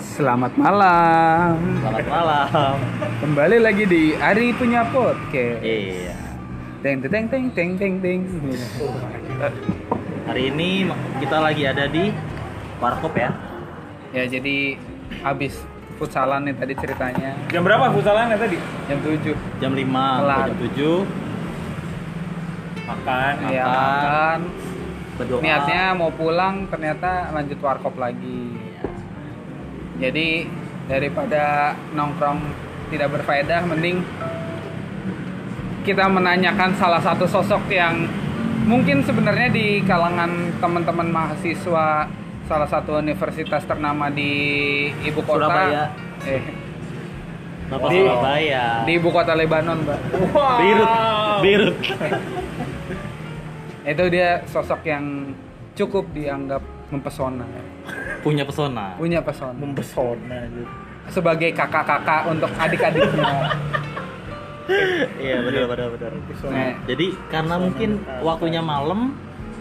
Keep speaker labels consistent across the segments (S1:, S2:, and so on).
S1: Selamat malam.
S2: Selamat malam.
S1: Kembali lagi di Ari punya podcast.
S2: Iya.
S1: Teng teng teng teng teng teng.
S2: Hari ini kita lagi ada di Warkop ya.
S1: Ya jadi habis futsalan nih tadi ceritanya
S3: Jam berapa futsalannya tadi?
S1: jam 7
S2: Jam 5
S1: Kelar.
S2: jam 7
S3: Makan.
S1: ya
S2: Makan.
S1: makan.
S2: berdoa.
S1: Niatnya mau pulang ternyata lanjut warkop lagi. Jadi daripada nongkrong tidak berfaedah mending kita menanyakan salah satu sosok yang mungkin sebenarnya di kalangan teman-teman mahasiswa salah satu universitas ternama di ibu kota
S2: Surabaya.
S1: eh,
S2: Bapak
S1: Di-
S2: Surabaya.
S1: di ibu kota Lebanon, Mbak.
S3: Wow.
S2: Birut. Birut.
S1: Itu dia sosok yang cukup dianggap mempesona.
S2: Punya pesona.
S1: Punya pesona.
S3: Mempesona gitu.
S1: sebagai kakak-kakak untuk adik-adiknya.
S2: Iya, benar benar benar.
S1: Nah,
S3: Pesona.
S2: Jadi karena mungkin waktunya malam,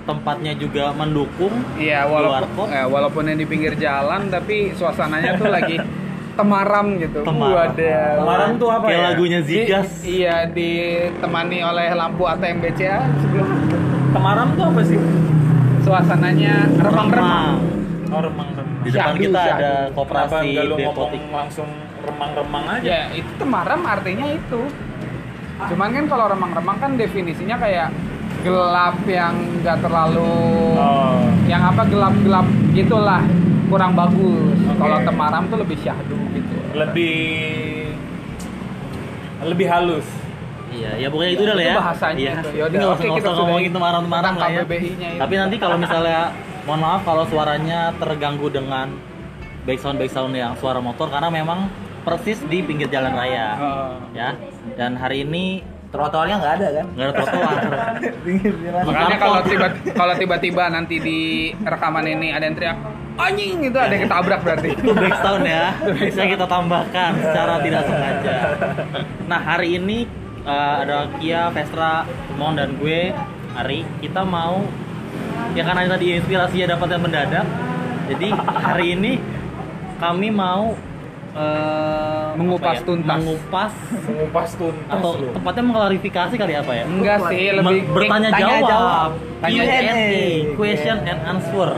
S2: tempatnya juga mendukung.
S1: Iya,
S2: Keluar kok.
S1: walaupun eh, walaupun yang di pinggir jalan tapi suasananya tuh lagi temaram gitu.
S2: Temaram.
S1: Wadah.
S3: Temaram tuh apa
S2: Kayak
S3: ya?
S2: lagunya
S1: Di-
S2: Zigas.
S1: iya, ditemani oleh lampu ATM BCA sebelum
S3: Temaram tuh apa sih?
S1: suasananya remang-remang.
S3: Oh remang-remang.
S2: Di depan
S1: Syahdu,
S2: kita
S1: syahdu.
S2: ada
S3: Kenapa
S2: koperasi
S3: nggak lu ngomong
S2: Depotik.
S3: langsung remang-remang aja?
S1: Ya, itu temaram artinya itu. Cuman kan kalau remang-remang kan definisinya kayak gelap yang nggak terlalu
S3: Oh.
S1: yang apa gelap-gelap gitulah kurang bagus.
S3: Oke.
S1: Kalau temaram tuh lebih syahdu gitu.
S3: Lebih lebih halus.
S2: Iya, ya pokoknya itu udah lah ya.
S1: Itu bahasanya
S2: Iya.
S1: itu.
S2: Ini
S1: Yaudah,
S2: nggak usah-
S1: oke, kita
S2: nggak usah
S1: sudahi.
S2: ngomongin temaram-temaram
S1: Tentang
S2: lah ya.
S1: KBBI-nya itu.
S2: Tapi nanti kalau misalnya mohon maaf kalau suaranya terganggu dengan back sound back sound yang suara motor karena memang persis di pinggir jalan raya.
S1: Oh.
S2: Ya. Dan hari ini trotoarnya nggak ada kan? Nggak ada trotoar.
S1: Makanya
S2: Bukan
S1: kalau
S2: pot.
S1: tiba kalau tiba-tiba nanti di rekaman ini ada yang teriak anjing gitu ada yang ketabrak berarti.
S2: itu back sound ya. Bisa kita tambahkan secara tidak sengaja. Nah, hari ini eh, ada Kia, Vestra, Mon dan gue Ari, kita mau ya karena tadi inspirasinya dapat yang mendadak. Jadi hari ini kami mau eh,
S1: Mengupas
S2: apa ya?
S1: tuntas.
S2: mengupas
S3: Mengupas tuntas
S2: atau
S3: lu.
S2: tepatnya mengklarifikasi kali apa ya?
S1: Enggak sih,
S2: Me-
S1: Iya, lebih
S2: bertanya
S1: tanya
S2: jawab,
S1: Tanya jawab. Iya,
S2: Q&A, question and answer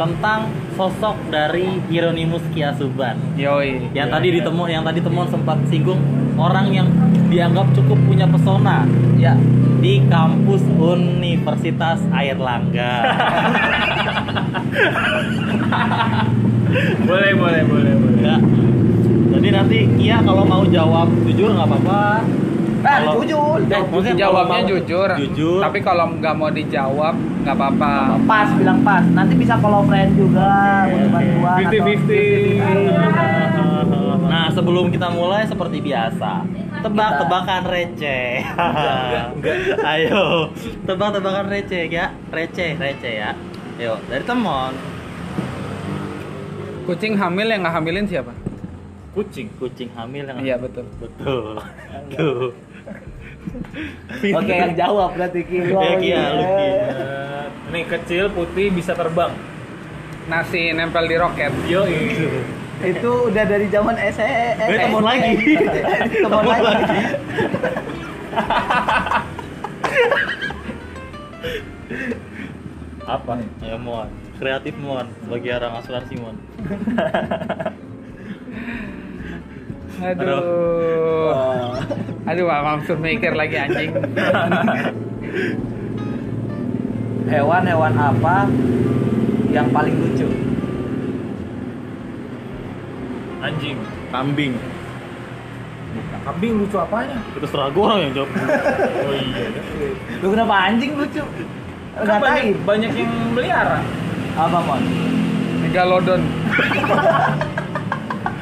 S2: tentang sosok dari Hieronymus Kiasuban
S1: Yoi.
S2: yang tadi
S4: Iya,
S2: ditemu yang tadi temuan sempat singgung orang yang dianggap cukup punya pesona
S1: Ya.
S2: di kampus Universitas Airlangga.
S3: Boleh, boleh, boleh, boleh.
S2: Ya. Jadi nanti Kia kalau mau jawab jujur nggak apa-apa. Kalau-
S4: jujur.
S2: Eh, maksudnya kalau
S1: Jawabnya
S2: mau-
S1: jujur.
S2: Jujur.
S1: Tapi kalau nggak mau dijawab nggak apa-apa.
S4: Pas bilang pas. Nanti bisa kalau friend juga
S2: Iya,
S4: butuh bantuan
S3: Fifty
S4: atau-
S3: fifty.
S2: Nah, sebelum kita mulai seperti biasa, tebak-tebakan receh. Ayo, tebak-tebakan receh ya. Receh, receh ya. Ayo, dari temon.
S1: Kucing hamil yang nggak hamilin siapa?
S2: Nah.
S3: Kucing.
S2: Kucing hamil yang
S1: Iya betul.
S2: betul. Tuh.
S4: Oke, yang jawab berarti Ki. Lu
S2: Ya, Kia, lu Kia.
S3: Eh, Nih kecil putih bisa terbang.
S1: Nasi nempel di roket.
S3: Yo itu.
S4: Itu udah dari zaman E SE.
S2: Eh, temon lagi.
S4: Temon lagi.
S3: Apa?
S2: Ayo, Mon. Ya, Kreatif Mon, bagi orang asuransi Mon.
S1: Aduh. Aduh, Pak Mamsur mikir lagi anjing.
S4: Hewan-hewan apa yang paling lucu?
S3: Anjing.
S2: Kambing.
S3: Kambing lucu apanya?
S2: Itu seragu orang yang jawab.
S3: Oh iya.
S4: Lu kenapa anjing lucu? Lu
S3: Kan banyak,
S4: ngatain
S3: banyak yang melihara.
S4: apa, Mon?
S1: Megalodon.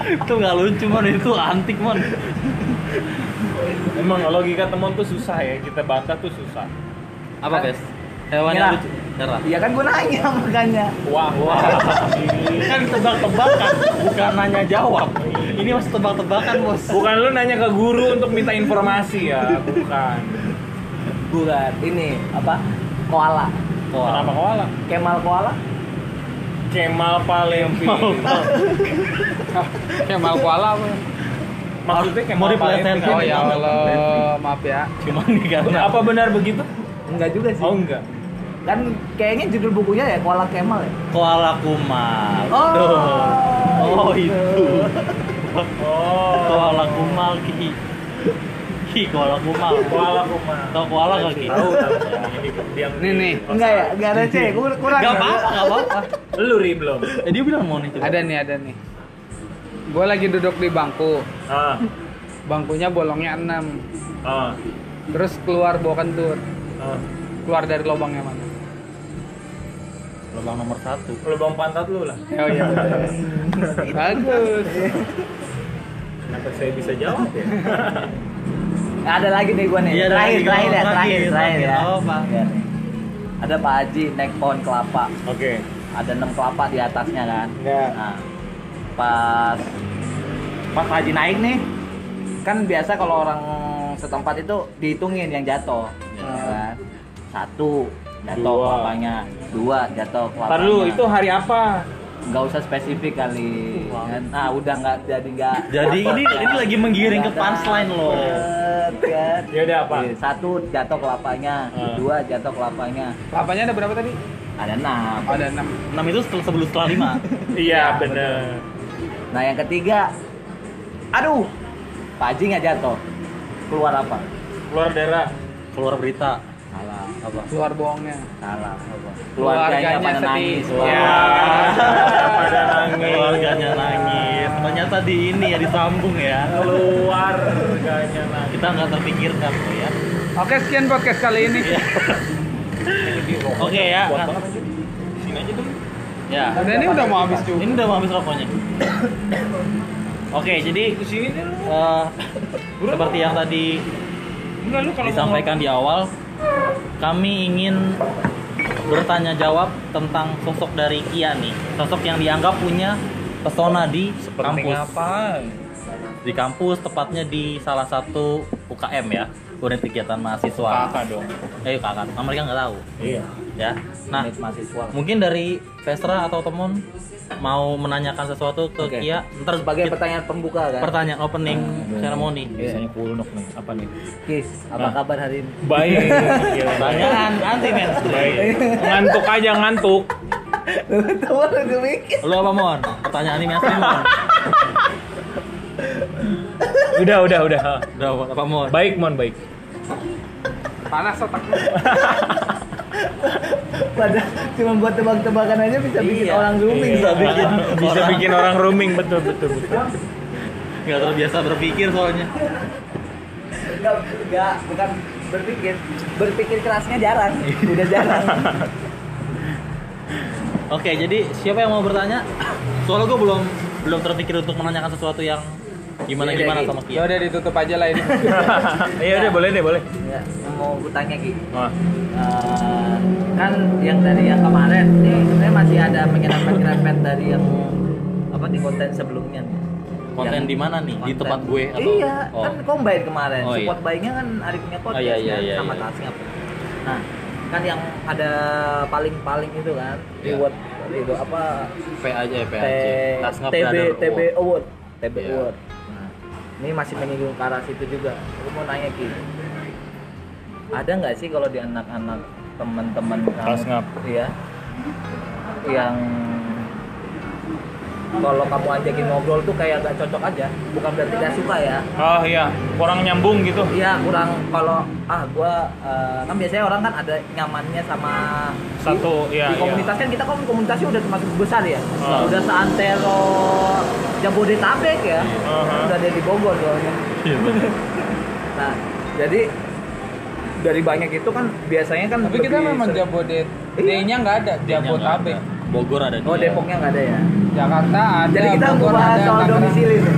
S2: itu nggak lucu Mon, itu antik Mon.
S3: Emang logika temen tuh susah ya, kita bantah tuh susah.
S2: Apa, Bes? Hewan yang
S4: Nyerah.
S2: lucu. Nyerah.
S4: Iya kan gue nanya makanya.
S3: Wah, wah.
S2: kan tebak-tebakan bukan nanya jawab ini masih tebak-tebakan bos
S3: Bukan lu nanya ke guru untuk minta informasi ya, bukan.
S4: Bukan ini apa? Koala.
S2: Wah,
S3: Kenapa koala?
S4: Kemal koala?
S3: Kemal Palevi.
S1: Kemal Ya, Kuala apa?
S3: Maksudnya Kemal
S2: Mau gitu. dipelesetin.
S3: Palevi.
S1: Oh ya Allah, maaf ya.
S2: Cuma nih karena
S3: Apa benar begitu?
S4: Enggak juga sih.
S3: Oh enggak.
S4: Kan kayaknya judul bukunya ya Kuala Kemal ya.
S2: koala kumal.
S4: Oh,
S2: Tuh. Oh
S4: itu.
S2: itu.
S3: Oh.
S2: Koala kumal ki. Ki koala kumal.
S3: Kuala Kumal.
S2: Tau koala gak ki?
S3: Tahu tahu. Ini diam.
S1: Nih, nih.
S2: Oh,
S4: Enggak ya, enggak ada sih. Kurang.
S2: Gak Iya. apa-apa, gak apa-apa.
S3: Lu ri belum?
S2: Eh, dia bilang mau nih
S3: Iya.
S2: coba.
S1: Ada nih, ada nih. Gue lagi duduk di bangku.
S3: Ah.
S1: Bangkunya bolongnya 6.
S3: Ah.
S1: Terus keluar bawa kentur.
S3: ah.
S1: Keluar dari lubangnya mana?
S2: lubang nomor satu.
S3: Lubang pantat lu lah.
S1: Oh iya. Bagus.
S3: Kenapa saya bisa jawab ya?
S4: Ada lagi nih gua nih.
S2: Iya, ada
S4: terakhir,
S2: lagi.
S4: terakhir ya,
S2: Terakhir,
S4: terakhir, terakhir
S2: terakhir.
S4: ya.
S2: Gak apa-apa.
S4: Biar nih. Ada Pak Haji naik pohon kelapa.
S3: Oke.
S4: Ada 6 kelapa di atasnya kan.
S2: Iya.
S3: Enggak.
S4: Nah, pas pas Pak Haji naik nih, kan biasa kalau orang setempat itu dihitungin yang jatuh,
S2: Iya.
S4: ya kan? Satu jatuh
S3: Dua.
S4: kelapanya, dua jatuh kelapanya.
S3: Ntar dulu, itu hari apa?
S4: nggak usah spesifik kali. kan? Nah, udah nggak jadi nggak.
S2: Jadi ini ini lagi menggiring ke punchline loh.
S4: Kan?
S3: Ya udah apa?
S4: Iya, Satu jatuh kelapanya,
S3: Ah.
S4: dua jatuh kelapanya,
S1: Lapanya ada berapa tadi?
S4: ada enam.
S1: Oh, ada 6.
S2: 6 itu setel- sebelum setelah 5.
S3: Iya, bener.
S4: Nah yang ketiga, aduh, Pak Haji nggak jatuh, keluar apa?
S3: Keluar daerah.
S2: Keluar berita.
S4: Salah,
S2: Apa?
S1: Keluar bohongnya.
S4: salah. apa?
S1: Keluarganya
S4: Keluarganya pada
S1: sedih.
S4: nangis. Wah.
S2: Iya.
S1: Ya.
S3: Pada nangis.
S2: Keluarganya nangis. Ternyata di ini ya disambung ya.
S3: Keluar harganya nangis.
S2: Kita nggak terpikirkan loh ya.
S1: Oke, sekian podcast kali
S3: Iya.
S1: ini.
S2: Oke ya.
S3: Kuat
S2: Kak.
S3: banget aja. Sini aja dulu.
S2: Ya.
S1: Dan ini udah mau habis juga.
S2: Ini udah mau habis rokoknya. Oke, jadi
S3: Ke sini deh lu.
S2: eh, seperti yang tadi
S3: Enggak lu kalau
S2: disampaikan di awal, kami ingin bertanya jawab tentang sosok dari Kia nih, sosok yang dianggap punya pesona di
S3: Seperti
S2: kampus.
S3: apa?
S2: Di kampus, tepatnya di salah satu UKM ya, unit kegiatan mahasiswa.
S3: Kakak dong.
S2: Eh, kakak, Nah, mereka nggak tahu.
S3: Iya.
S2: Ya, nah
S4: Nah, mahasiswa.
S2: mungkin dari Vestra atau temen mau menanyakan sesuatu ke
S4: Oke.
S2: Kia, ntar
S4: Sebagai
S2: kita-
S4: pertanyaan pembuka kan.
S2: pertanyaan opening ceremony.
S4: Biasanya
S3: kulnok nih. Apa nih?
S4: Kis, apa
S3: Nah.
S4: kabar hari ini?
S3: Baik. Gila, baik.
S2: Pertanyaan anti mainstream.
S3: Iya. Baik. Ngantuk aja ngantuk.
S4: Lu tuh udah mikir.
S2: Lu apa mon? Pertanyaan anti mainstream mon.
S3: Udah, udah, udah.
S2: Udah Mon. apa mon?
S3: Baik, Mon, baik.
S1: Panas otaknya.
S4: Padahal cuma buat tebak-tebakan aja bisa bikin
S2: Iya.
S4: orang zooming.
S2: Bisa
S4: Bang.
S2: bikin.
S3: Bisa
S2: orang-
S3: bikin orang roaming, betul, betul, betul.
S2: Gak terbiasa berpikir soalnya.
S4: Enggak, enggak, bukan berpikir. Berpikir kerasnya jarang. Udah jarang.
S2: Oke, jadi siapa yang mau bertanya? Soalnya gue belum belum terpikir untuk menanyakan sesuatu yang gimana
S4: Iya,
S2: gimana sama
S1: Ya
S2: Kia.
S1: udah ditutup aja lah ini.
S3: Iya, udah boleh deh, boleh.
S4: ya, yang mau gue tanya Ki.
S3: Wah.
S4: Eh, kan yang dari yang kemarin ini sebenarnya masih ada menyerempet-nyerempet dari yang apa di konten sebelumnya nih.
S2: Konten
S4: Yang-
S2: di mana nih? Di
S4: konten.
S2: tempat gue atau?
S4: Iya,
S2: Oh.
S4: kan combine kemarin.
S2: Oh, iya.
S4: Support bayinya kan Ari punya podcast
S2: Oh, iya, iya,
S4: kan,
S2: iya,
S4: sama
S2: iya.
S4: tasnya. Nah, kan yang ada paling-paling itu kan
S2: Iya.
S4: reward itu apa
S2: P aja ya, P
S4: T-
S2: aja. Tasngap
S4: TB
S2: Brother
S4: TB
S2: Award.
S4: award, TB
S2: Iya.
S4: award. Nah, ini masih menyinggung ke arah situ juga. Aku mau nanya Ki. Ada nggak sih kalau di anak-anak teman-teman kamu-
S3: Tasngap.
S4: Iya. Yang kalau kamu ajakin ngobrol tuh kayak gak cocok aja, bukan berarti gak suka ya.
S3: Oh iya, kurang nyambung gitu.
S4: Iya kurang kalau ah gua eh, kan biasanya orang kan ada nyamannya sama
S3: Satu, iya,
S4: di
S3: iya.
S4: komunitas kan kita kan komunitasnya udah termasuk besar ya.
S3: Ah. Iya.
S4: Udah seantero Jabodetabek ya.
S3: Aha.
S4: Udah ada di Bogor soalnya.
S2: Iya, bener.
S4: Nah, jadi dari banyak itu kan biasanya kan
S1: Tapi kita
S4: lebih
S1: memang
S4: sering-
S1: Jabodet.
S4: Iya.
S1: D-nya nggak ada, Jabotabek.
S2: Bogor ada
S4: Oh,
S2: dia.
S4: Depoknya nggak ada ya.
S1: Jakarta ada.
S4: Jadi kita mau
S1: Bogor
S4: bahas
S1: ada,
S4: soal
S1: Tangerang.
S4: domisili tuh.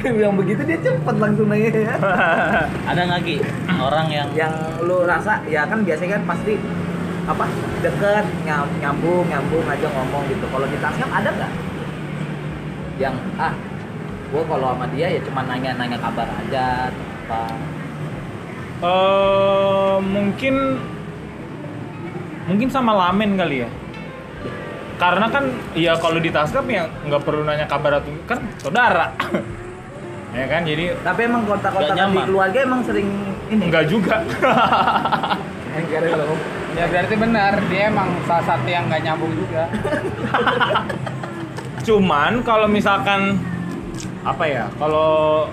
S4: yang begitu dia cepet langsung nanya ya.
S3: Uh-huh.
S2: Ada nggak Ki? Orang yang
S4: Yang lu rasa ya kan biasanya kan pasti apa deket nyam, nyambung nyambung aja ngomong gitu. Kalau di tasnya ada nggak? Yang ah gua kalau sama dia ya cuma nanya-nanya kabar aja atau apa
S3: Eh, mungkin Mungkin sama Lamen kali ya. Karena kan ya kalau di Tasgap ya nggak perlu nanya kabar atau kan saudara. ya kan jadi
S4: Tapi emang
S2: Nggak
S4: kontak-kontakan di
S2: nyaman.
S4: keluarga emang sering ini.
S3: nggak juga.
S4: Enggak ada loh.
S1: ya berarti benar dia emang salah satu yang nggak nyambung juga
S3: Cuman kalau misalkan apa ya kalau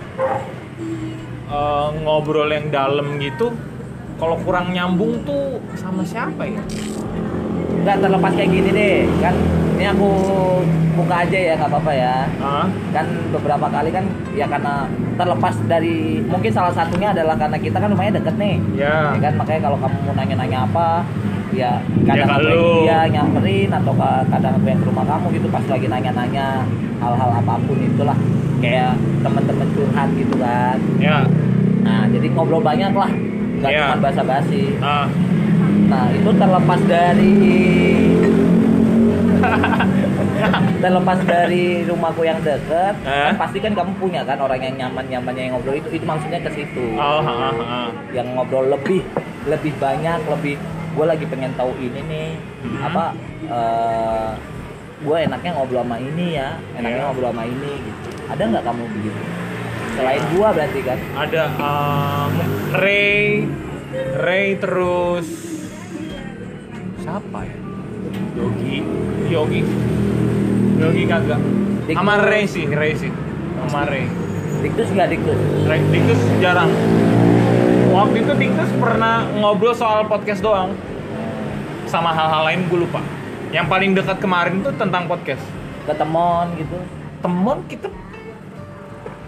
S3: eh, ngobrol yang dalam gitu kalau kurang nyambung tuh sama siapa ya?
S4: Enggak terlepas kayak gini deh, kan ini aku buka aja ya nggak apa-apa ya.
S3: Hah?
S4: kan beberapa kali kan ya karena terlepas dari mungkin salah satunya adalah karena kita kan rumahnya deket nih
S3: Ya.
S4: ya kan makanya kalau kamu mau nanya-nanya apa ya
S3: Ya
S4: kadang aku yang
S3: kalau-
S4: dia nyamperin atau ka- kadang aku yang ke rumah kamu gitu pas lagi nanya-nanya hal-hal apapun itulah kayak teman-teman curhat gitu kan
S3: Ya.
S4: nah jadi ngobrol banyak lah nggak
S3: Iya.
S4: cuma basa-basi
S3: Ah.
S4: Nah, itu terlepas dari terlepas dari rumahku yang deket,
S3: Eh?
S4: kan pasti kan kamu punya kan orang yang nyaman nyamannya yang ngobrol itu itu maksudnya ke situ,
S3: Oh, ah, ah, ah.
S4: yang ngobrol lebih lebih banyak lebih gue lagi pengen tahu ini nih
S3: Hmm.
S4: apa gue enaknya ngobrol sama ini ya, enaknya
S3: Iya.
S4: ngobrol sama ini gitu. Ada nggak kamu begitu? Selain gua berarti kan?
S3: ada um, Ray Ray terus siapa ya Yogi Yogi Yogi kagak
S4: Diktus.
S3: sama Ray sih Ray sih sama Ray
S4: Diktus nggak diktus?
S3: Ray Diktus jarang waktu itu Diktus pernah ngobrol soal podcast doang sama hal-hal lain gue lupa yang paling dekat kemarin tuh tentang podcast
S4: Ketemon gitu?
S3: temon kita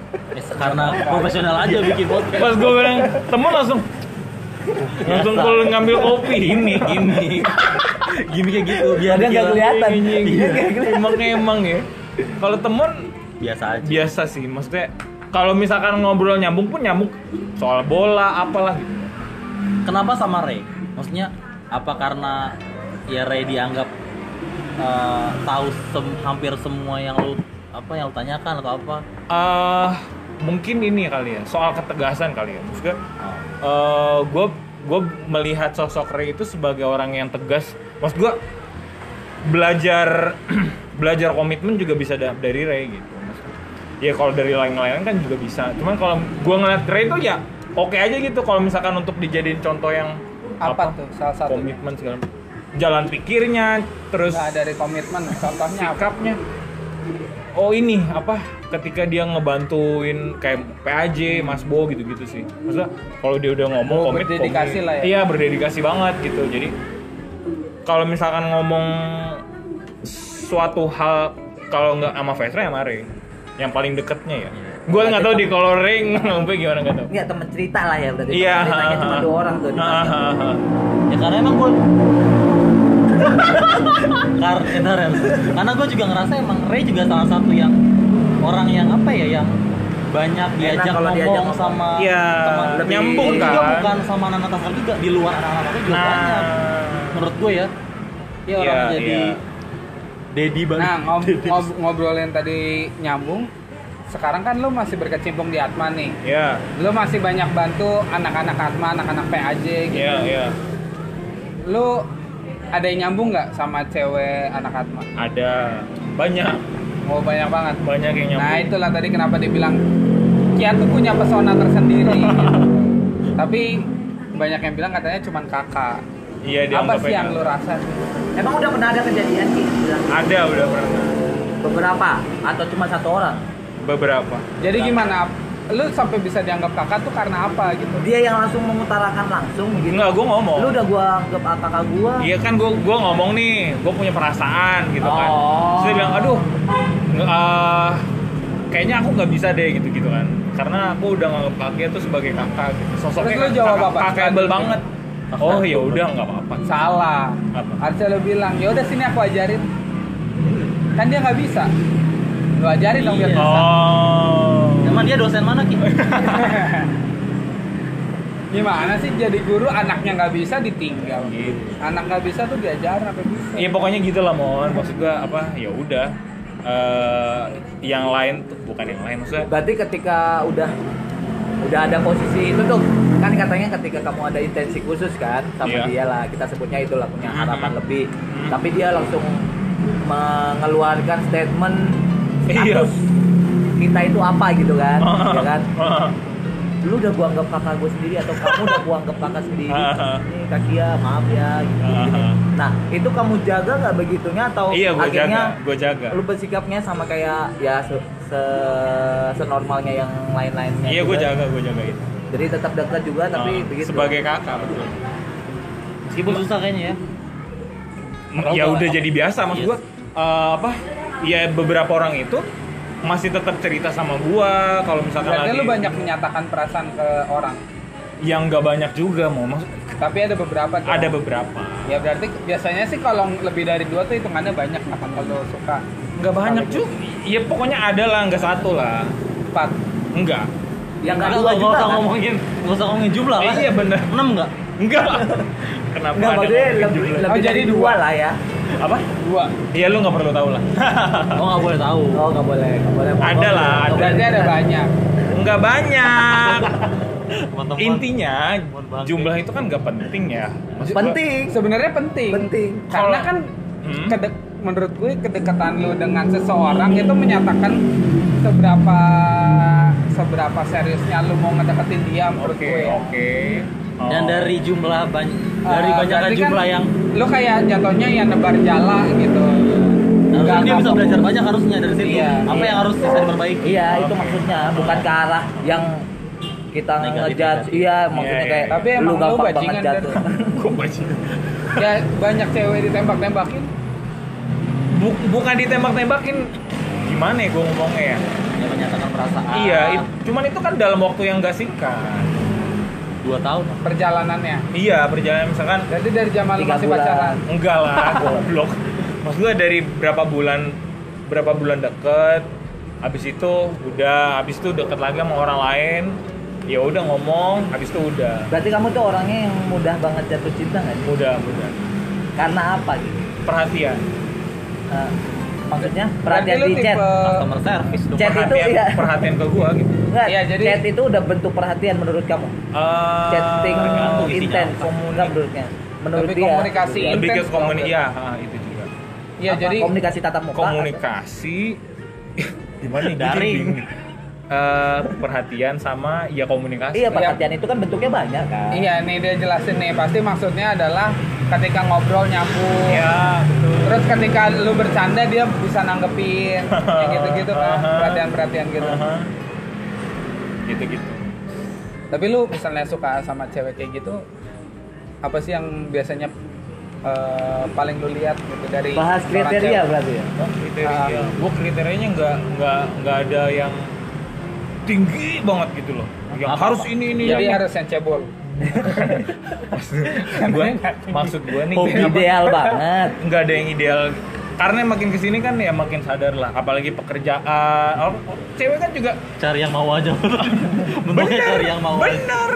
S2: Ya, karena profesional aja bikin podcast
S3: pas gue bilang temon langsung langsung kalau ngambil kopi ini gini
S2: gini kayak gitu biar gitu.
S4: Dia nggak
S2: dia-
S4: kelihatan.
S3: Iya, emang emang ya. Kalau temen
S2: biasa aja
S3: biasa sih, maksudnya kalau misalkan ngobrol nyambung pun nyambung soal bola apalah gitu.
S2: kenapa sama Ray maksudnya apa karena ya Ray dianggap eh, tahu sem- hampir semua yang lu apa yang lu tanyakan atau apa
S3: Eh, mungkin ini kali ya soal ketegasan kali ya. Maksudnya
S2: Oh.
S3: gue gue melihat sosok Ray itu sebagai orang yang tegas. Maksud gue belajar belajar komitmen juga bisa da- dari Ray gitu. Maksudnya, Ya kalau dari lain-lain kan juga bisa. Cuman kalau gue ngeliat Ray itu ya oke aja gitu kalau misalkan untuk dijadiin contoh yang
S1: apa tuh salah satu Nah.
S3: komitmen segala macam. jalan pikirnya terus
S1: nggak dari komitmen contohnya apa
S3: sikapnya oh ini apa ketika dia ngebantuin kayak PAJ Mas Bo gitu-gitu sih maksudnya kalau dia udah ngomong
S1: Bo
S3: komit
S1: berdedikasi
S3: komit.
S1: lah ya.
S3: iya berdedikasi banget gitu jadi kalau misalkan ngomong suatu hal kalau nggak sama Vesra ya Mare yang paling deketnya ya gue nggak tahu di kalau ring ngomongnya gimana nggak tahu
S4: Enggak teman cerita lah ya berarti.
S3: iya
S4: Teman Ceritanya cuma dua orang tuh di
S3: Ah,
S4: Tasik.
S3: ah, ah.
S2: ya karena emang gue Kar eh, bentar, Ren. karena gue juga ngerasa emang Ray juga salah satu yang orang yang apa ya yang banyak diajak
S4: kalau
S2: ngomong,
S4: diajak ngomong.
S2: sama
S3: Iya,
S2: teman
S3: lebih- nyambung
S2: Ini juga
S3: kan? Nah.
S2: bukan sama anak-anak Tasar juga di luar anak-anak Tasar juga banyak menurut gue ya ya orang
S3: Iya,
S2: jadi
S3: iya.
S2: Dedi banget
S1: Nah, ngob- ngob- ngobrolin tadi nyambung. Sekarang kan lu masih berkecimpung di Atma nih.
S3: Iya,
S1: Lu masih banyak bantu anak-anak Atma, anak-anak PAJ gitu.
S3: iya, iya.
S1: Lu ada yang nyambung nggak sama cewek anak Atma?
S3: Ada banyak,
S1: Oh, banyak banget.
S3: banyak yang nyambung.
S1: Nah, itulah tadi kenapa dibilang Kia tuh punya pesona tersendiri. gitu. Tapi banyak yang bilang katanya cuman kakak.
S3: Iya, dia
S1: Apa sih yang lu rasa?
S4: Emang udah pernah ada kejadian sih? Bilang,
S3: Ada udah pernah.
S4: Beberapa atau cuma satu orang?
S3: Beberapa.
S1: Jadi gimana? Lu sampai bisa dianggap kakak tuh karena apa gitu?
S4: Dia yang langsung mengutarakan langsung gitu.
S3: Enggak, gue ngomong.
S4: Lu udah gua anggap kakak gua.
S3: Iya kan gue gua ngomong nih, gue punya perasaan gitu kan.
S4: Oh.
S3: Terus dia bilang, aduh, nge- ah, kayaknya aku nggak bisa deh gitu gitu kan. Karena aku udah nganggep kakek tuh sebagai kakak. Gitu. Sosoknya
S1: Terus lu
S3: kak-
S1: jawab
S3: kakak-
S1: apa?
S3: kakekbel banget.
S2: Kakak
S3: Oh
S2: bel
S3: ya udah nggak apa-apa.
S1: Salah.
S3: Apa?
S1: Harusnya lo bilang, ya udah sini aku ajarin. Kan dia nggak bisa. Lo ajarin dong biar
S2: Iya.
S1: bisa.
S3: Oh.
S2: emang dia dosen mana Ki?
S1: Gimana sih jadi guru anaknya nggak bisa ditinggal?
S3: Gitu.
S1: Anak nggak bisa tuh diajar apa bisa?
S3: Iya pokoknya gitu lah mon. Maksud gua apa? Ya udah. Eh, yang lain bukan yang lain maksudnya
S4: Berarti ketika udah udah ada posisi itu tuh kan katanya ketika kamu ada intensi khusus kan sama
S3: Iya.
S4: dia lah kita sebutnya itulah punya
S3: Mhm.
S4: harapan lebih
S3: Mhm.
S4: tapi dia langsung mengeluarkan statement
S3: Iya.
S4: status kita itu apa gitu kan ya kan
S3: Ah,
S4: lu udah gua anggap kakak gue sendiri atau kamu udah gua anggap kakak sendiri
S3: Ah.
S4: ini kak Kia maaf ya gitu
S3: Ah.
S4: gini. nah itu kamu jaga nggak begitunya atau
S3: iya gue
S4: akhirnya
S3: jaga, gue jaga.
S4: lu bersikapnya sama kayak ya se, se- senormalnya yang lain-lainnya
S3: Iya gue
S4: juga?
S3: jaga, gue jaga itu.
S4: jadi tetap dekat juga tapi
S3: Ah,
S4: begitu
S3: sebagai kakak betul.
S2: Meskipun susah kayaknya ya. Padahal
S3: ya
S2: gua-
S3: udah jadi biasa maksud
S2: Yes.
S3: gua eh, apa ya beberapa orang itu masih tetap cerita sama gua kalau misalkan
S1: Berarti
S3: lagi
S1: lu banyak menyatakan perasaan ke orang.
S3: yang nggak banyak juga mau maksud
S1: Tapi ada beberapa tuh.
S3: ada beberapa
S1: Ya berarti biasanya sih kalau lebih dari dua tuh hitungannya banyak nggak akan kalau suka
S3: nggak banyak
S1: Tapi-
S3: juga ya pokoknya ada lah nggak satu lah
S1: empat.
S3: enggak
S4: yang nggak
S2: Nggak
S4: dua
S2: nggak
S4: juga
S2: usah
S4: kan?
S2: ngomongin, nggak usah ngomongin jumlah
S3: Eh,
S2: kan?
S3: iya bener
S2: Enam nggak?
S3: enggak kenapa
S4: nggak
S3: ada
S4: maksudnya
S3: ngomongin
S4: lebih,
S3: jumlah?
S1: Oh,
S4: lebih
S1: jadi
S4: dari dua
S1: dua.
S4: lah ya
S3: apa
S1: Dua.
S3: ya lu nggak perlu tahu lah
S2: Oh nggak boleh tahu.
S4: oh nggak boleh nggak boleh
S3: Ada
S4: Nggak
S3: lah,
S4: boleh.
S3: ada.
S1: Berarti ada banyak.
S3: nggak banyak
S2: Teman-teman.
S3: intinya
S2: Teman bangke.
S3: jumlah itu kan nggak penting ya Maksud gua-
S4: penting
S1: Sebenarnya penting.
S4: penting
S1: Karena
S3: Kalau-
S1: kan
S3: Hmm.
S1: kedek- menurut gue kedekatan lu dengan seseorang itu menyatakan seberapa seberapa seriusnya lu mau ngedeketin dia menurut
S3: oke
S4: Iya.
S1: gue.
S3: oke Oh.
S2: Dan dari jumlah banyak,
S1: Eh,
S2: dari banyaknya
S1: berarti kan
S2: jumlah yang
S1: lu kayak jatuhnya yang nebar jala gitu.
S2: harusnya
S1: Nggak-
S2: dia
S1: nggak
S2: Nah, bisa
S1: fokus.
S2: belajar banyak harusnya dari situ.
S1: Iya,
S2: Apa
S1: iya.
S2: yang harus bisa diperbaiki?
S4: iya itu maksudnya bukan ke arah yang kita
S2: Negatif,
S4: ngejudge
S2: negatif.
S4: iya maksudnya
S3: Iya, iya,
S4: kayak
S1: iya. Tapi emang lu
S4: gampang banget
S1: bajingan,
S4: jatuh
S3: Kok bajingan?
S1: Ya banyak cewek ditembak-tembakin.
S3: Bu- bukan ditembak-tembakin gimana ya gue ngomongnya ya
S2: Yang menyatakan perasaan.
S3: iya it- cuman itu kan dalam waktu yang gak singkat
S2: Dua tahun.
S1: Eh. perjalanannya.
S3: iya perjalanan misalkan
S1: Jadi dari zaman lu
S4: Tiga
S1: masih
S4: bulan.
S1: pacaran.
S3: enggak lah goblok maksud gue dari berapa bulan berapa bulan deket habis itu udah habis itu deket lagi sama orang lain ya udah ngomong habis itu udah
S4: berarti kamu tuh orangnya yang mudah banget jatuh cinta nggak sih?
S3: mudah mudah
S4: karena apa gitu
S3: perhatian
S4: Eh, maksudnya
S1: Berarti
S4: perhatian
S1: lu
S4: di chat
S1: tipe
S2: Customer service dong.
S4: Chat itu,
S3: perhatian
S4: iya.
S3: perhatian ke gue gitu
S4: Nggak,
S1: Iya, jadi-
S4: chat itu udah bentuk perhatian menurut kamu
S3: Eh,
S4: chatting
S2: tergantung isinya
S4: intens
S2: apa.
S4: enggak menurutnya menurut
S1: Lebih
S4: dia
S1: komunikasi.
S3: lebih ke
S1: Intens
S3: komunikasi
S1: dong.
S3: ya ah, itu juga
S1: Iya
S4: Apa,
S1: jadi
S4: komunikasi tatap muka
S3: komunikasi gimana nih? Gua jadi
S2: Daring.
S3: bingung. Eh, perhatian sama ya komunikasi
S4: Iya perhatian itu kan bentuknya banyak kan.
S1: iya nih dia jelasin nih pasti maksudnya adalah ketika ngobrol nyambung.
S4: Iya.
S3: ya betul
S1: Terus ketika lu bercanda dia bisa nanggepin kayak gitu-gitu kan,
S4: Uh-huh.
S3: Aha.
S1: perhatian-perhatian gitu.
S3: Aha. gitu-gitu
S1: Tapi lu misalnya suka sama cewek kayak gitu apa sih yang biasanya eh, paling lu lihat gitu dari
S4: Bahas
S1: seorang
S4: kriteria
S1: cewek?
S4: berarti ya.
S3: oh, kriteria
S1: Ah.
S3: gua kriterianya nggak nggak nggak ada yang tinggi banget gitu loh yang
S2: Apa-apa.
S3: harus ini ini
S1: Jadi
S3: ini.
S1: harus yang cebol.
S3: maksud gua maksud gua nih
S4: Hobi
S3: kenapa-
S4: ideal banget.
S3: nggak ada yang ideal karena makin kesini kan ya makin sadar lah apalagi pekerjaan Oh, oh, cewek kan juga
S2: Cari yang mau aja. Bentuknya cari yang mau aja.
S3: bener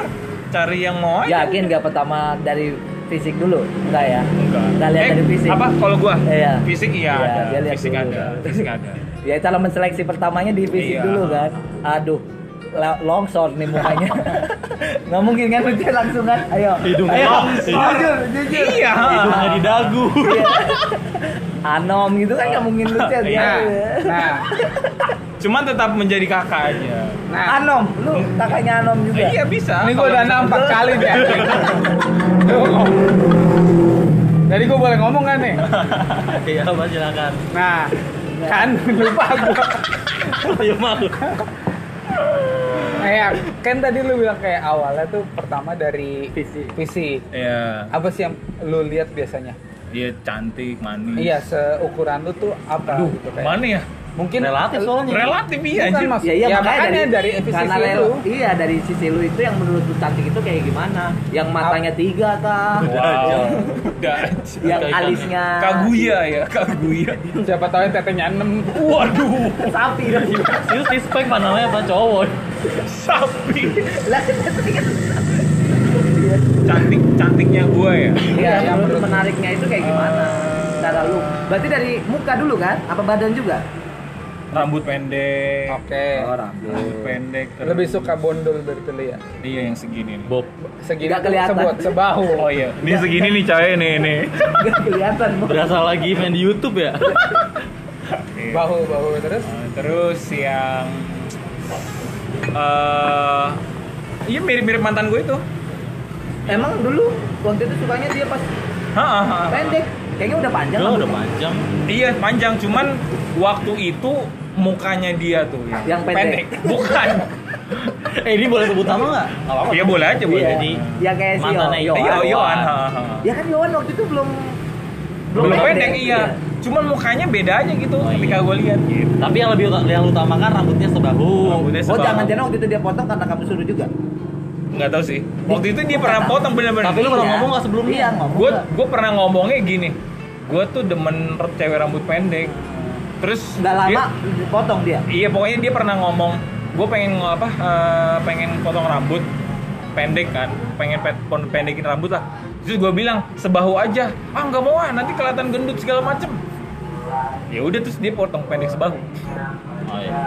S3: cari yang mau aja.
S4: Yakin gak pertama dari fisik dulu? Enggak ya.
S3: enggak Eh,
S4: Nggak lihat dari fisik.
S3: apa kalau gua
S4: Iya.
S3: fisik iya
S4: Iya, dia
S3: ada
S4: lihat
S3: fisik
S4: dulu.
S3: ada fisik ada
S4: Ya cara menseleksi pertamanya di fisik
S3: Iya.
S4: dulu kan. Aduh, la- longsor nih mukanya. nggak mungkin kan lucu langsung kan? Ayo.
S2: Hidungnya
S4: Ayo.
S2: langsor.
S4: Jujur, jujur.
S3: iya
S2: Hidungnya di dagu.
S4: Iya. Anom gitu kan nggak mungkin lucu
S3: Iya.
S1: Nah,
S4: ya.
S1: nah,
S3: cuman tetap menjadi kakak aja
S1: nah.
S4: Anom, lu kakaknya Anom juga.
S3: iya bisa Iya.
S1: Ini gue udah
S3: Kalau-
S1: nampak kali nih anjing. Tuh, ngomong. Jadi gue boleh ngomong kan nih?
S2: Iya, Mas silakan.
S1: Nah, kan lupa gue.
S2: Ayo mau.
S1: Nah, ya, kan tadi lu bilang kayak awalnya tuh pertama dari
S4: Fisik.
S1: fisik.
S3: iya
S1: Apa sih yang lu lihat biasanya?
S3: dia cantik
S4: Hmm.
S3: manis
S1: Iya, seukuran lu tuh apa
S3: Aduh,
S1: gitu kayak.
S3: mana ya
S1: Mungkin
S2: Relatif soalnya.
S3: relatif iya
S1: Bukan,
S3: anjir.
S1: Mas.
S4: Ya, iya,
S1: Ya,
S4: makanya,
S1: makanya dari sisi
S4: karena
S1: lu.
S4: rela- Iya dari sisi lu itu yang menurut lu cantik itu kayak gimana? Yang matanya tiga kah?
S3: wow udah anjir.
S4: yang
S2: Kayak
S4: alisnya
S3: kaguya ya kaguya
S1: siapa tahu yang tetenya 6.
S3: waduh
S4: sapi dong.
S2: Serius respect pak namanya pak cowok.
S3: sapi
S4: Lah, itu kan-
S3: cantik cantiknya gue ya
S4: Iya,
S1: Iya,
S4: yang
S1: yang
S4: menurut
S1: menurut-
S4: menariknya itu kayak gimana? Cara lu. Berarti dari muka dulu kan? Apa badan juga?
S3: rambut pendek
S1: Oke.
S4: Oh, rambut.
S3: rambut pendek terus-
S1: Lebih suka bondol berarti ya.
S3: iya yang segini nih
S2: Bob
S1: Segini
S4: Nggak
S1: tuh
S4: kelihatan.
S1: sebut sebahu.
S3: oh iya ini segini nih cahaya nih nih
S4: Nggak kelihatan Bu.
S2: berasa lagi main di YouTube ya
S3: Iya.
S1: Bahu bahu terus.
S3: Uh, terus yang eh iya mirip-mirip mantan gue itu
S4: Emang dulu waktu itu sukanya dia pas
S3: Ha, ha, ha.
S4: pendek. Kayaknya udah panjang.
S2: Lo Ya, udah
S4: rambutnya.
S2: panjang
S3: iya panjang cuman waktu itu mukanya dia tuh yang,
S4: Yang pendek.
S3: bukan
S2: eh ini boleh sebut nama nggak nggak apa-apa
S3: ya boleh aja boleh
S4: Iya.
S3: jadi
S4: Ya kayak si
S2: Mantannya
S4: Yohan.
S2: Yohan.
S3: iya
S2: Yohan.
S3: Yohan ha, ha, ha.
S4: Ya kan Yohan waktu itu belum
S3: belum pendek iya cuman mukanya beda aja gitu
S2: Oh, iya.
S3: ketika gue lihat gitu
S2: tapi yang lebih ut- yang utamakan rambutnya sebahu
S3: Rambutnya
S4: Oh
S3: sebab-
S4: jangan-jangan waktu itu dia potong karena kamu suruh juga.
S3: nggak tahu sih waktu itu dia pernah potong bener-bener
S2: Tapi lu pernah ngomong nggak sebelumnya?
S4: Iya, ngomong.
S3: gue
S4: nggak.
S3: gue pernah ngomongnya gini gue tuh demen cewek rambut pendek terus
S4: nggak
S3: dia-
S4: lama potong dia.
S3: iya pokoknya dia pernah ngomong gue pengen nge- apa eh, pengen potong rambut pendek kan pengen pet, pon- pendekin rambut lah terus gue bilang sebahu aja ah nggak mau ah nanti kelihatan gendut segala macem ya udah terus dia potong pendek sebahu
S2: Oh, iya.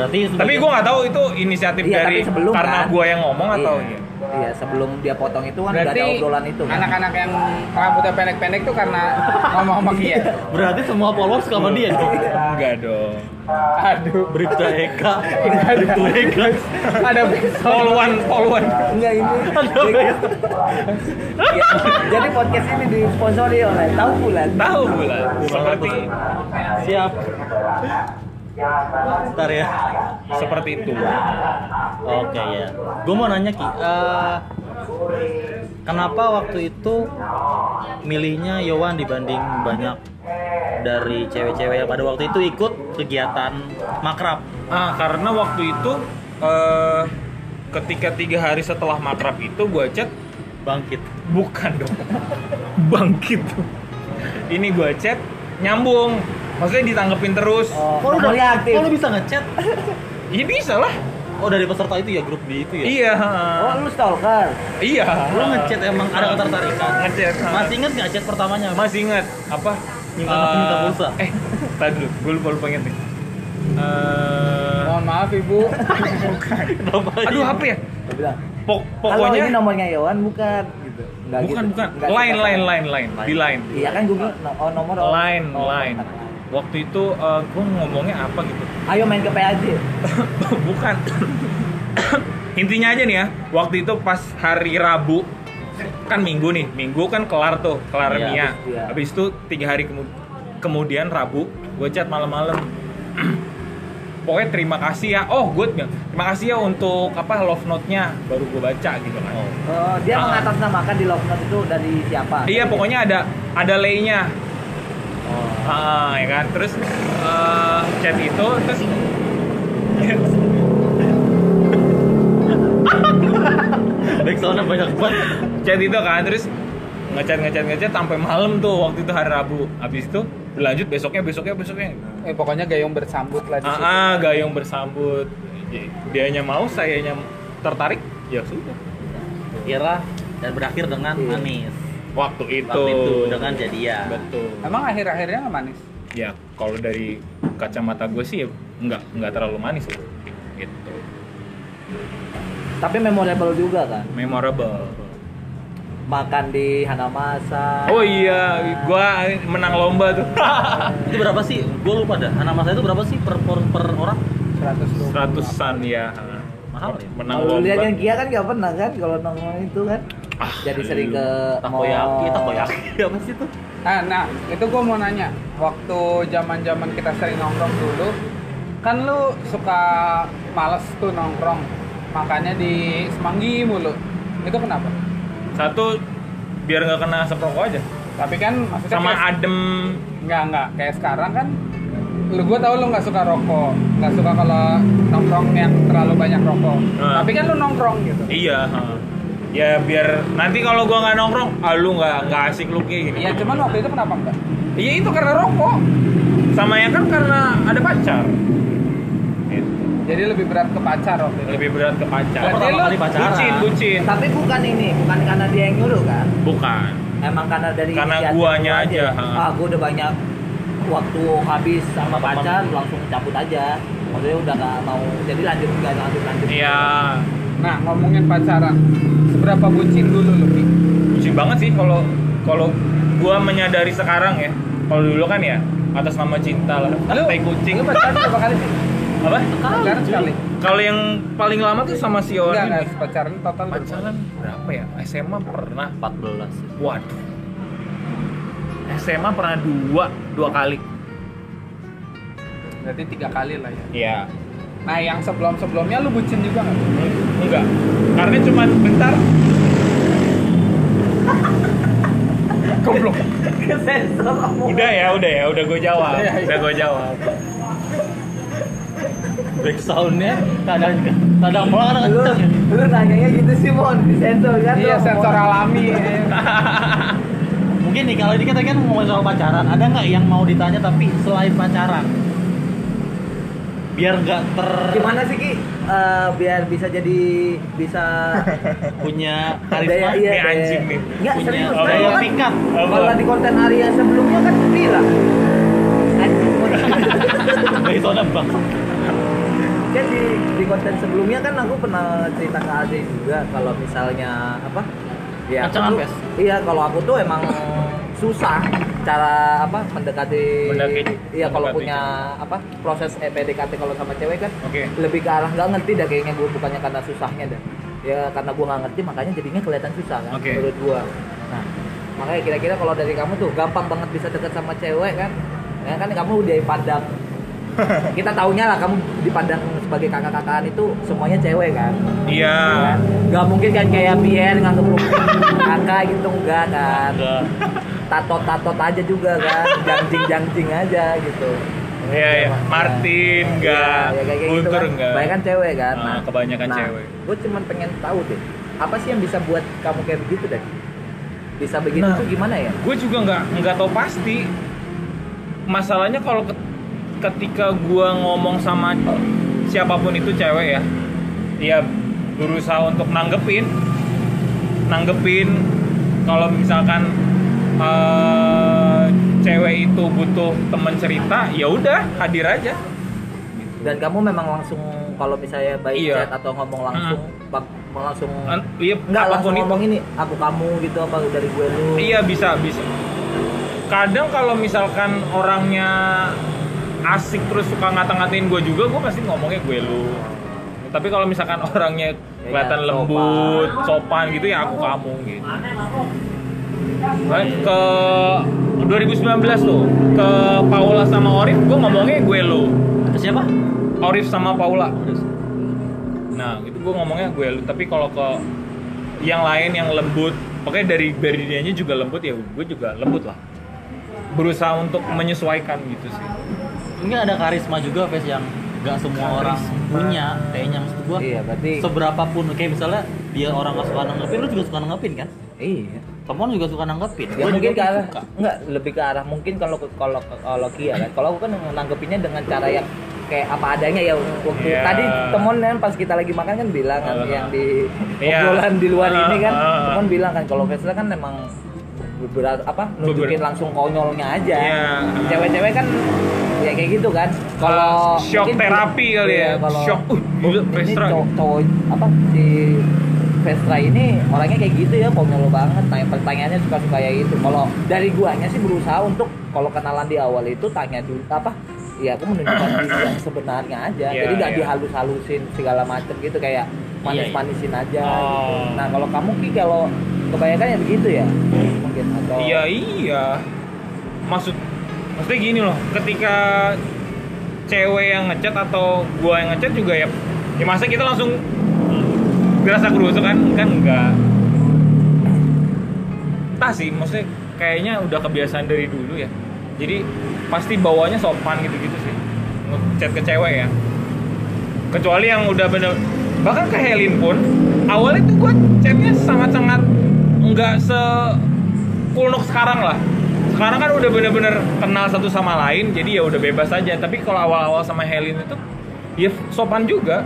S2: berarti
S3: tapi gue nggak tahu itu inisiatif
S4: Iya,
S3: dari
S4: tapi sebelum
S3: karena
S4: kan.
S3: gue yang ngomong atau iya.
S4: iya. Iya, sebelum dia potong itu kan udah
S1: Berarti
S4: ada obrolan itu. kan.
S1: anak-anak yang rambutnya pendek-pendek tuh karena iya. ngomong sama dia.
S2: berarti semua followers sama dia dong
S3: enggak dong
S1: Aduh.
S2: Bripta Eka Bripta Eka
S1: Ada
S3: poluan poluan
S4: Enggak ini.
S2: iya.
S4: Ya, Ah. Jadi podcast ini disponsori oleh Tahu Bulan.
S3: tahu pula seperti
S2: siap ntar ya
S3: seperti itu
S2: Oke ya. Gue mau nanya Ki, eh, kenapa waktu itu milihnya Yowan dibanding banyak dari cewek-cewek yang pada waktu itu ikut kegiatan makrab?
S3: ah karena waktu itu eh, ketika tiga hari setelah makrab itu gue chat
S2: Bangkit.
S3: bukan dong bangkit ini gue chat nyambung maksudnya ditanggepin terus
S4: Oh,
S2: Kok lu
S4: nomornya
S3: iya,
S2: udah-
S4: aktif.
S2: kok lu bisa ngechat?
S3: ya bisa lah
S2: Oh dari peserta itu ya grup di itu ya?
S3: iya
S4: Oh, lu stalker.
S3: iya
S2: Lu ngechat emang ada ketertarikan?
S3: ngechat
S2: Masih inget nggak chat pertamanya?
S3: masih ingat apa
S2: Minta maaf, minta pulsa.
S3: eh tadi dulu gue lupa lupa inget nih Eh,
S1: Mohon maaf Ibu.
S2: Kenapa?
S3: aduh
S2: Iya.
S3: apa ya
S4: Dia bilang,
S3: Pok-
S4: Kalau ini
S3: pokoknya
S4: nomornya Yohan bukan gitu. Enggak
S3: bukan
S4: gitu.
S3: bukan
S4: Enggak
S3: lain
S4: gitu.
S3: lain lain lain di lain
S4: Iya kan gue bilang, oh nomor oh.
S3: lain
S4: Oh,
S3: lain waktu itu gue ngomongnya apa gitu
S4: Ayo main ke PAJ.
S3: bukan intinya aja nih ya waktu itu pas hari Rabu kan Minggu nih Minggu kan kelar tuh kelar
S2: Iya,
S3: Mia
S4: iya.
S3: habis itu tiga hari kemu- kemudian Rabu gue chat malam-malam pokoknya terima kasih ya oh gue bilang terima kasih ya untuk apa love note nya baru gue baca gitu kan
S2: Oh.
S4: Oh, dia
S3: Ah.
S4: mengatasnamakan di Love Note itu dari siapa?
S3: iya pokoknya ada ada lay-nya
S2: Oh.
S3: Ah, ya kan. Terus eh, chat itu terus
S2: Backsoundnya banyak banget.
S3: chat itu kan terus ngechat ngechat ngechat sampai malam tuh waktu itu hari Rabu. Habis itu berlanjut besoknya besoknya besoknya.
S1: Eh pokoknya gayung bersambut lah di
S3: Ah,
S1: situ.
S3: ah, gayung bersambut. Dianya mau, sayanya tertarik. Ya sudah.
S2: Ira dan berakhir dengan
S4: Iya.
S2: manis.
S3: Waktu itu.
S2: Waktu itu dengan
S4: kan,
S2: jadian.
S3: Betul.
S1: Emang akhir-akhirnya nggak manis.
S3: Ya kalau dari kacamata gue sih ya nggak nggak terlalu manis lah. Gitu.
S4: Tapi memorable juga kan.
S3: Memorable.
S4: Makan di Hanamasa.
S3: Oh iya, gua menang lomba tuh.
S2: Itu berapa sih? Gue lupa dah. Anak masa itu berapa sih per per, per orang?
S1: 120.
S3: seratusan ya
S2: Mahal ya?
S3: menang
S4: Kalau
S3: lomba
S4: lihat yang Kia kan gak pernah kan kalau nongol itu kan.
S3: Ah,
S4: Jadi sering ke
S2: Takoyaki,
S4: mall.
S2: takoyaki apa sih itu?
S1: Ah, nah, itu gue mau nanya. Waktu zaman-zaman kita sering nongkrong dulu, kan lu suka males tuh nongkrong. Makanya di Semanggi mulu. Itu kenapa?
S3: satu biar nggak kena asap rokok aja
S1: Tapi kan maksudnya
S3: sama
S1: kayak,
S3: adem
S1: nggak nggak kayak sekarang kan lu gue tau lu nggak suka rokok nggak suka kalau nongkrong yang terlalu banyak rokok
S3: Nah.
S1: tapi kan lu nongkrong gitu
S3: iya ha. ya biar nanti kalau gua nggak nongkrong ah lu nggak nggak asik lu kayak gitu. gini
S1: ya cuman waktu itu kenapa enggak
S3: iya itu karena rokok sama yang kan karena ada pacar Gitu.
S1: jadi lebih berat ke pacar waktu itu
S3: lebih berat ke pacar
S1: Berarti lu
S2: kali pacaran.
S3: bucin bucin
S4: Tapi bukan ini, bukan karena dia yang nyuruh kan.
S3: bukan
S4: Emang karena dari
S3: Karena
S4: inisiatif
S3: guanya
S4: gua
S3: aja, ha.
S4: Ah, gua udah banyak waktu habis sama
S2: Sama
S4: pacar
S2: teman.
S4: langsung cabut aja maksudnya udah gak mau jadi lanjut nggak lanjut lanjut
S3: Iya,
S1: Nah, ngomongin pacaran. Seberapa bucin dulu lu, Pi?
S3: bucin banget sih kalau kalau gua menyadari sekarang ya. Kalau dulu kan ya atas nama cinta lah, tai kucing.
S1: Lu pacaran berapa kali sih?
S3: Apa?
S1: Pacaran sekali.
S3: Kalau yang paling lama tuh sama si
S1: Enggak,
S3: Orin.
S1: enggak pacaran total berapa?
S3: Pacaran berapa ya? SMA pernah.
S2: 14 sih.
S3: Waduh. SMA pernah dua, dua kali.
S1: Berarti tiga kali lah ya.
S3: Iya.
S1: Nah, yang sebelum-sebelumnya lu bucin juga nggak?
S3: Enggak. Karena cuma bentar.
S1: Goblok.
S4: sensor
S3: Udah ya, udah ya, udah gue jawab.
S1: Iya, iya.
S3: Udah gue jawab.
S2: Back soundnya kadang kadang pelan kadang
S4: lu
S2: kenceng.
S4: lu nanyanya gitu sih mon di sensor kan
S1: Iya,
S4: lu,
S1: sensor
S4: Mon.
S1: alami.
S2: Mungkin nih kalau ini kita kan ngomongin soal pacaran, ada nggak yang mau ditanya tapi selain pacaran? Biar nggak ter
S4: gimana sih ki Eh, biar bisa jadi bisa
S2: punya
S4: daya
S2: karisma,
S4: iya
S3: Ini
S4: daya-
S3: anjing nih.
S4: nggak
S2: punya ya?
S4: serius
S3: Oh,
S4: kan?
S2: daya
S3: iya.
S2: pick up.
S4: kalau
S3: Apa?
S4: di konten Arya sebelumnya kan bilang anjing Mon.
S2: Dari sana bang.
S4: kan di, di konten sebelumnya kan aku pernah cerita ke Aldi juga kalau misalnya apa ya aku
S2: Pacaran,
S4: tuh-
S2: Pes.
S4: iya kalau aku tuh emang susah cara apa mendekati
S3: Mendekati.
S4: iya kalau
S3: Mendekati.
S4: punya apa proses eh, PDKT kalau sama cewek kan
S3: Oke.
S4: lebih ke arah nggak ngerti dah kayaknya gue bukannya karena susahnya dah ya karena gue nggak ngerti makanya jadinya kelihatan susah kan
S3: Oke.
S4: menurut gue nah makanya kira-kira kalau dari kamu tuh gampang banget bisa deket sama cewek kan ya kan kamu udah padang kita taunya lah kamu dipandang sebagai kakak-kakaan itu semuanya cewek kan
S3: Iya.
S4: Kan? nggak mungkin kan kayak Pierre nganggep lu kakak gitu enggak kan
S2: Ada.
S4: tatot-tatot aja juga kan jangjing-jangjing aja gitu
S3: Iya, iya. Martin enggak,
S4: Iya, kayak gitu
S3: Guntur
S4: kan.
S3: enggak.
S4: Banyak kan cewek kan.
S3: Nah, kebanyakan cewek.
S4: Gue cuman pengen tahu deh, apa sih yang bisa buat kamu kayak begitu deh? Bisa begitu
S3: Nah.
S4: tuh gimana ya?
S3: gue juga nggak nggak tahu pasti masalahnya kalau ket- ketika gue ngomong sama siapapun itu cewek ya ya berusaha untuk nanggepin nanggepin kalau misalkan eh, cewek itu butuh teman cerita ya udah hadir aja
S4: Dan kamu memang langsung kalau misalnya by
S3: Iya.
S4: chat atau ngomong langsung, bak- mau langsung
S3: An- iya
S4: nggak
S3: apapun
S4: langsung
S3: itu
S4: ngomong ini aku kamu gitu apa dari gue lu.
S3: Iya bisa bisa. Kadang kalau misalkan orangnya asik terus suka ngata-ngatain gue juga, gue pasti ngomongnya gue lu. Tapi kalau misalkan orangnya kelihatan
S4: sopan.
S3: lembut, sopan gitu ya aku kamu gitu. Nah, Ke 2019 tuh ke Paula sama Orif, gue ngomongnya gue lu.
S2: Siapa?
S3: Orif sama Paula. Nah, itu gue ngomongnya gue lu. Tapi kalau ke yang lain yang lembut, pokoknya dari dari dianya juga lembut ya, gue juga lembut lah. Berusaha untuk menyesuaikan gitu sih.
S2: Mungkin ada karisma juga Fes yang nggak semua orang punya. Kayaknya maksud gua.
S4: Iya, berarti
S2: Seberapa pun kayak misalnya dia orang nggak suka nanggepin, lu juga suka nanggepin kan?
S4: iya.
S2: Temen juga suka nanggepin.
S4: Ya
S2: Gua
S4: mungkin ke
S2: juga
S4: arah
S2: suka.
S4: enggak lebih ke arah mungkin kalau kalau kalau Kia kan. Kalau aku kan nanggepinnya dengan cara yang kayak apa adanya ya waktu
S3: Iya.
S4: tadi temen kan pas kita lagi makan kan bilang kan
S3: Ah.
S4: yang di
S3: Iya.
S4: obrolan di luar ini kan
S3: Ah, ah.
S4: temen bilang kan kalau Vesla kan memang beberapa apa nunjukin
S3: Beber-
S4: langsung konyolnya aja.
S3: Iya.
S4: Cewek-cewek kan ya kayak gitu kan. Kalau
S3: Ah, shock
S4: mungkin-
S3: terapi kali
S4: iya,
S3: ya.
S4: kalau-
S3: Shock. Uh, gila,
S4: ini
S3: Vestra.
S4: cowok, cowok apa si Vestra ini orangnya kayak gitu ya konyol banget tanya pertanyaannya suka suka ya itu kalau dari guanya sih berusaha untuk kalau kenalan di awal itu tanya dulu apa ya aku menunjukkan diri yang sebenarnya aja
S3: Iya,
S4: jadi nggak
S3: iya.
S4: dihalus-halusin segala macem gitu kayak manis-manisin aja gitu.
S3: iya. Oh.
S4: nah kalau kamu ki kalau kebanyakan ya begitu ya mungkin atau
S3: Iya iya. Maksud maksudnya gini loh, ketika cewek yang ngechat atau gua yang ngechat juga ya, ya masa kita langsung berasa kerusuk kan kan enggak. Entah sih, maksudnya kayaknya udah kebiasaan dari dulu ya. Jadi pasti bawanya sopan gitu-gitu sih. Ngechat ke cewek ya. Kecuali yang udah bener bahkan ke Helin pun awalnya tuh gua chatnya sangat-sangat nggak se kulnok sekarang lah sekarang kan udah bener-bener kenal satu sama lain jadi ya udah bebas aja tapi kalau awal-awal sama Helin itu ya sopan juga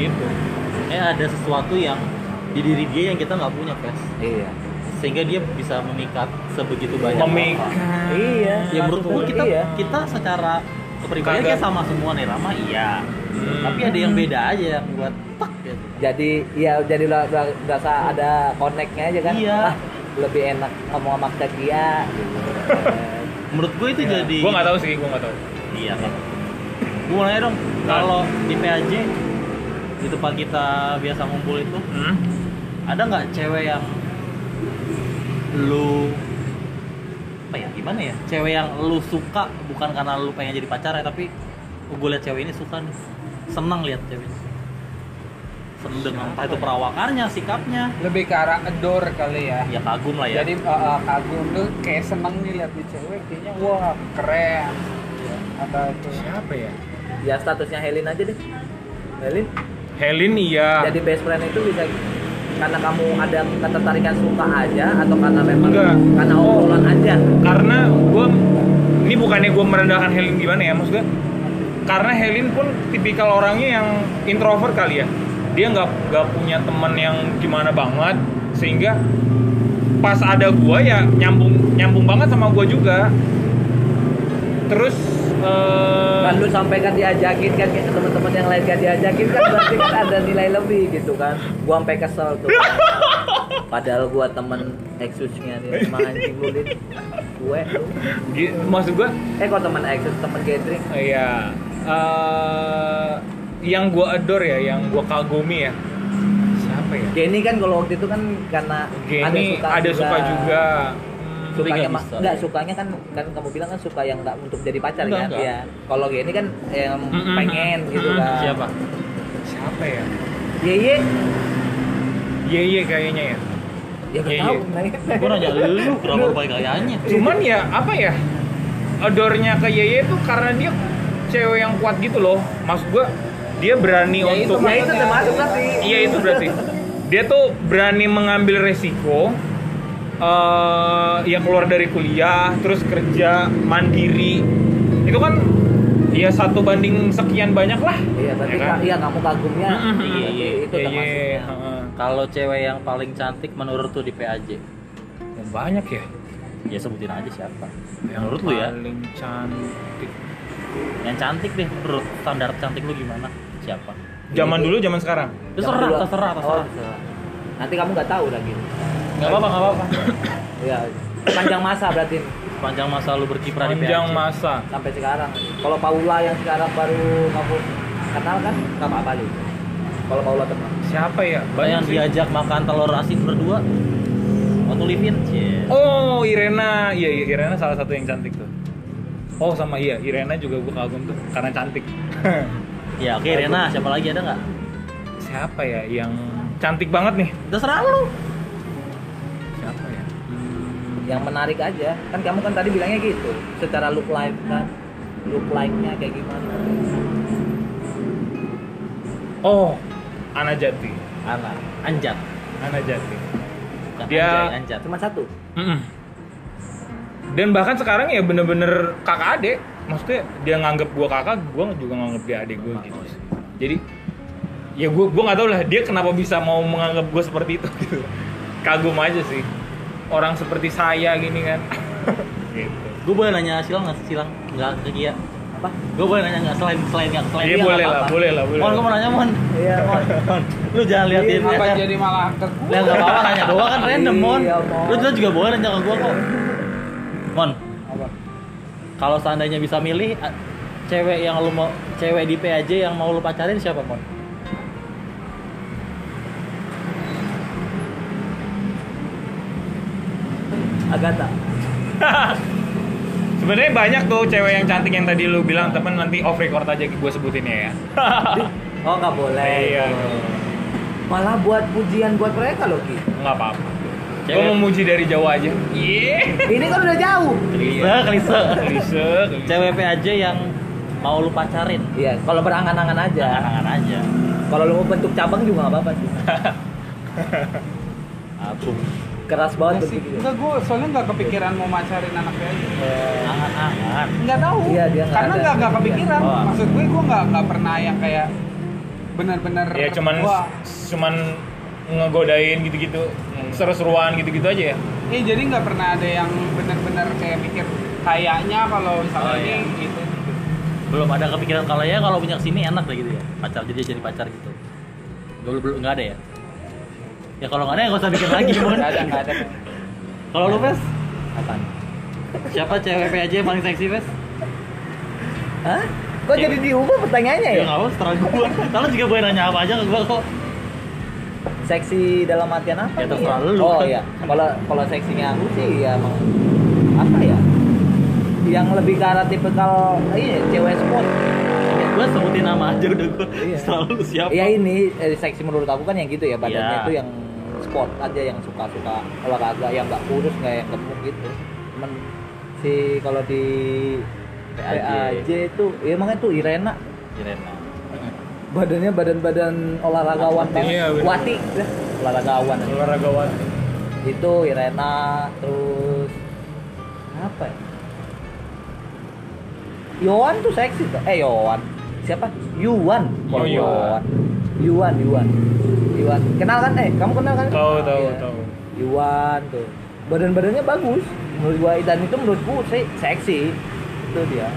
S3: gitu
S2: Eh ada sesuatu yang di diri dia yang kita nggak punya Fes.
S4: iya
S2: sehingga dia bisa memikat sebegitu banyak orang.
S3: memikat
S5: Iya.
S2: ya menurut gua kita
S5: Iya.
S2: kita secara pribadi
S3: Kagak.
S2: kayak sama semua nih Rama iya
S3: Hmm.
S2: tapi ada yang beda aja yang buat tek gitu
S4: jadi ya jadi lo lo- berasa ada connectnya aja kan
S2: Iya.
S4: Ah, lebih enak ngomong sama Kak Kia gitu.
S2: menurut gue itu jadi
S3: gue nggak tahu sih gue nggak tahu
S2: iya kan gue mulai dong kalau di PAJ di tempat kita biasa ngumpul itu
S3: hmm?
S2: ada nggak cewek yang lu apa ya gimana ya cewek yang lu suka bukan karena lu pengen jadi pacar ya tapi gue liat cewek ini suka nih senang liat cewek ini seneng dengan entah itu perawakannya sikapnya
S1: lebih ke arah adore kali ya
S2: ya kagum lah ya
S1: jadi eh, eh, kagum tuh kayak seneng nih lihat di cewek kayaknya wah keren atau itu
S3: siapa ya
S4: ya statusnya Helin aja deh Helin
S3: Helin iya
S4: jadi best friend itu bisa karena kamu ada ketertarikan suka aja atau karena memang
S3: Enggak.
S4: karena obrolan aja
S3: karena gue ini bukannya gue merendahkan Helin gimana ya maksudnya karena Helin pun tipikal orangnya yang introvert kali ya dia nggak nggak punya teman yang gimana banget sehingga pas ada gue ya nyambung nyambung banget sama gue juga terus eh,
S4: kan lu sampai kan diajakin kan ke teman-teman yang lain kan diajakin kan berarti kan ada nilai lebih gitu kan gua sampai kesel tuh padahal gua temen eksusnya nih emang anjing lu lin gue lu
S3: gi- maksud gue
S4: eh kok temen eksus temen gathering
S3: Iya. eh yang gue adore ya, yang gue kagumi ya. Siapa ya?
S4: Geni kan kalau waktu itu kan karena
S3: Gini ada suka juga. Hmm,
S2: Tapi
S4: sukanya
S2: nggak
S4: mah
S2: bisa.
S4: enggak sukanya kan kan kamu bilang kan suka yang enggak untuk jadi pacar
S3: Enggak,
S4: kan
S3: enggak.
S4: ya kalau Geni kan yang
S3: Mm-mm.
S4: pengen gitu
S3: Mm-mm.
S4: kan iya.
S2: siapa
S3: Siapa ya?
S4: Ye ye.
S3: Iya iya kayaknya ya.
S4: Ya
S3: Ye,
S4: nggak tahu.
S2: gue nanya lu kenapa lu pakai kayaknya
S3: Cuman ya apa ya? Adornya ke Yeye tuh karena dia cewek yang kuat gitu loh. Maksud gue dia berani
S1: Ya, itu
S3: untuk
S4: Ya itu termasuk kan sih.
S3: Iya itu berarti. Dia tuh berani mengambil resiko eh ya keluar dari kuliah, terus kerja mandiri. Itu kan ya satu banding sekian banyak lah.
S4: Iya, berarti
S3: Ya kan?
S4: ka- iya kamu kagumnya.
S3: Mm-mm.
S4: Iya, iya, itu
S3: Iya,
S4: termasuk.
S3: iya, heeh.
S2: kalau cewek yang paling cantik menurut tuh di PAJ
S3: Yang banyak ya.
S2: ya sebutin aja siapa
S3: Yang
S2: menurut lu ya
S3: Paling cantik.
S2: yang cantik deh menurut standar cantik lu gimana siapa
S3: Zaman dulu, zaman sekarang.
S4: Jangan
S2: terserah
S4: dulu.
S2: terserah
S4: Oh,
S2: terserah
S4: terserah. Nanti kamu nggak tahu lagi.
S2: nggak apa-apa nggak apa-apa
S4: Iya. Panjang masa berarti
S2: panjang masa lu berkiprah di
S3: Panjang
S2: PAJ.
S3: masa.
S4: sampai sekarang. Kalau Paula yang sekarang baru kamu kenal kan nggak apa-apa Lin. Kalau Paula teman.
S3: Siapa ya?
S2: yang
S3: sih.
S2: diajak makan telur asin berdua waktu livin Cie.
S3: Oh, Irena. Iya, iya, Irena salah satu yang cantik tuh. Oh, sama iya, Irena juga gue kagum tuh karena cantik.
S2: ya oke Rena siapa lagi ada nggak
S3: Siapa ya yang cantik banget nih?
S2: terserah lu
S3: Siapa ya?
S4: Yang menarik aja. Kan kamu kan tadi bilangnya gitu. Secara look like kan look like-nya kayak gimana.
S3: Oh, Ana Ya. Jati.
S2: anak anjat
S3: Ana Jati.
S2: bukan
S3: Dia-
S2: anjay, anjat
S4: Cuma satu.
S3: Dan bahkan sekarang ya bener-bener kakak adik. Maksudnya dia nganggep gua kakak, gua juga nganggep dia adik gua gitu. Jadi ya gua gua nggak tahu lah dia kenapa bisa mau menganggap gua seperti itu gitu. Kagum aja sih. Orang seperti saya gini kan. gitu.
S2: gue boleh nanya silang nggak sih? silang nggak ke dia
S4: Apa?
S2: gue boleh nanya nggak selain selain nggak selain
S3: Iya,
S2: dia
S3: boleh
S2: nggak
S3: lah,
S2: apa-apa.
S3: boleh lah, boleh
S2: mon
S3: lah.
S2: gue mau nanya mon
S4: Iya.
S2: mon, mon. lu jangan lihat dia
S1: apa jadi malah ke
S2: Lah enggak apa-apa nanya doang kan random, Mon.
S4: Iya, Mon.
S2: Lu, lu juga boleh nanya ke gua kok. Mon,
S1: Apa?
S2: kalau seandainya bisa milih a- cewek yang lu mau cewek di PAJ yang mau lu pacarin siapa, Mon?
S4: Agatha.
S3: Sebenarnya banyak tuh cewek yang cantik yang tadi lu bilang temen nanti off record aja gue sebutinnya ya.
S4: Oh nggak boleh.
S3: Iya,
S4: Malah buat pujian buat mereka loh Ki.
S3: nggak apa-apa. Gue
S2: Cewek.
S3: memuji dari jauh aja. Iya.
S4: Ini kan udah jauh.
S2: Klise, Iya, klise.
S3: Klise, klise.
S2: Cewek PAJ yang mau lu pacarin.
S4: Iya, kalau berangan-angan aja.
S2: Angan aja.
S4: Kalau lu mau bentuk cabang juga nggak apa-apa sih.
S2: Abung.
S4: Keras banget
S1: Nggak sih,
S4: bentuk gitu.
S1: enggak gue soalnya nggak kepikiran mau macarin anak PAJ
S2: Angan-angan.
S1: nggak tahu
S4: Iya, dia nggak
S1: karena
S4: ada.
S1: nggak nggak kepikiran
S2: Oh.
S1: maksud
S2: Iya,
S1: gue gue nggak nggak pernah yang kayak benar-benar
S3: Ya cuman
S1: wah
S3: cuman ngegodain gitu-gitu seru-seruan gitu-gitu aja ya
S1: Eh jadi nggak pernah ada yang benar-benar kayak mikir kayaknya kalau misalnya
S2: Oh, iya.
S1: ini gitu.
S2: belum ada kepikiran kalau ya kalau punya sini enak lah gitu ya pacar jadi jadi pacar gitu belum belum nggak ada ya ya kalau nggak ada ya nggak usah bikin lagi mon
S1: Nggak ada, nggak ada.
S2: kalau lu pes apaan siapa cewek PJ yang paling seksi pes
S4: Hah? Kok jadi diubah pertanyaannya
S2: ya
S4: ya?
S2: nggak apa setelah gua kalau juga boleh nanya apa aja ke gua kok
S4: Seksi dalam artian apa?
S2: Ya,
S4: nih?
S2: terserah lu.
S4: Oh iya. Kalau kalau seksinya aku sih ya emang apa ya? Yang lebih ke arah tipikal ini cewek sport.
S2: ya, gua sebutin nama aja udah gua
S4: Iya.
S2: selalu lu siapa
S4: Ya ini eh, seksi menurut aku kan yang gitu ya badannya
S2: Iya.
S4: itu yang sport aja yang suka-suka olahraga yang nggak kurus nggak yang gemuk gitu. Cuman si kalau di
S2: PAJ.
S4: PAJ itu ya makanya tuh Irena
S2: Irena
S4: badannya badan-badan olahragawan
S3: Atlet.
S4: banget.
S3: Iya, bener.
S4: Wati, dah, olahragawan.
S3: olahragawan
S4: Itu Irena, terus apa? Ya? Yohan tuh seksi tuh. Eh Yohan. Siapa? Yuan.
S3: Oh, Yuan.
S4: Yuan, Yuan. Yuan. Kenal kan? Eh, kamu kenal kan?
S3: tahu tahu
S4: Iya.
S3: tahu
S4: Yuan tuh. Badan-badannya bagus. Menurut gua dan itu menurutku se- seksi. Itu dia. Ya.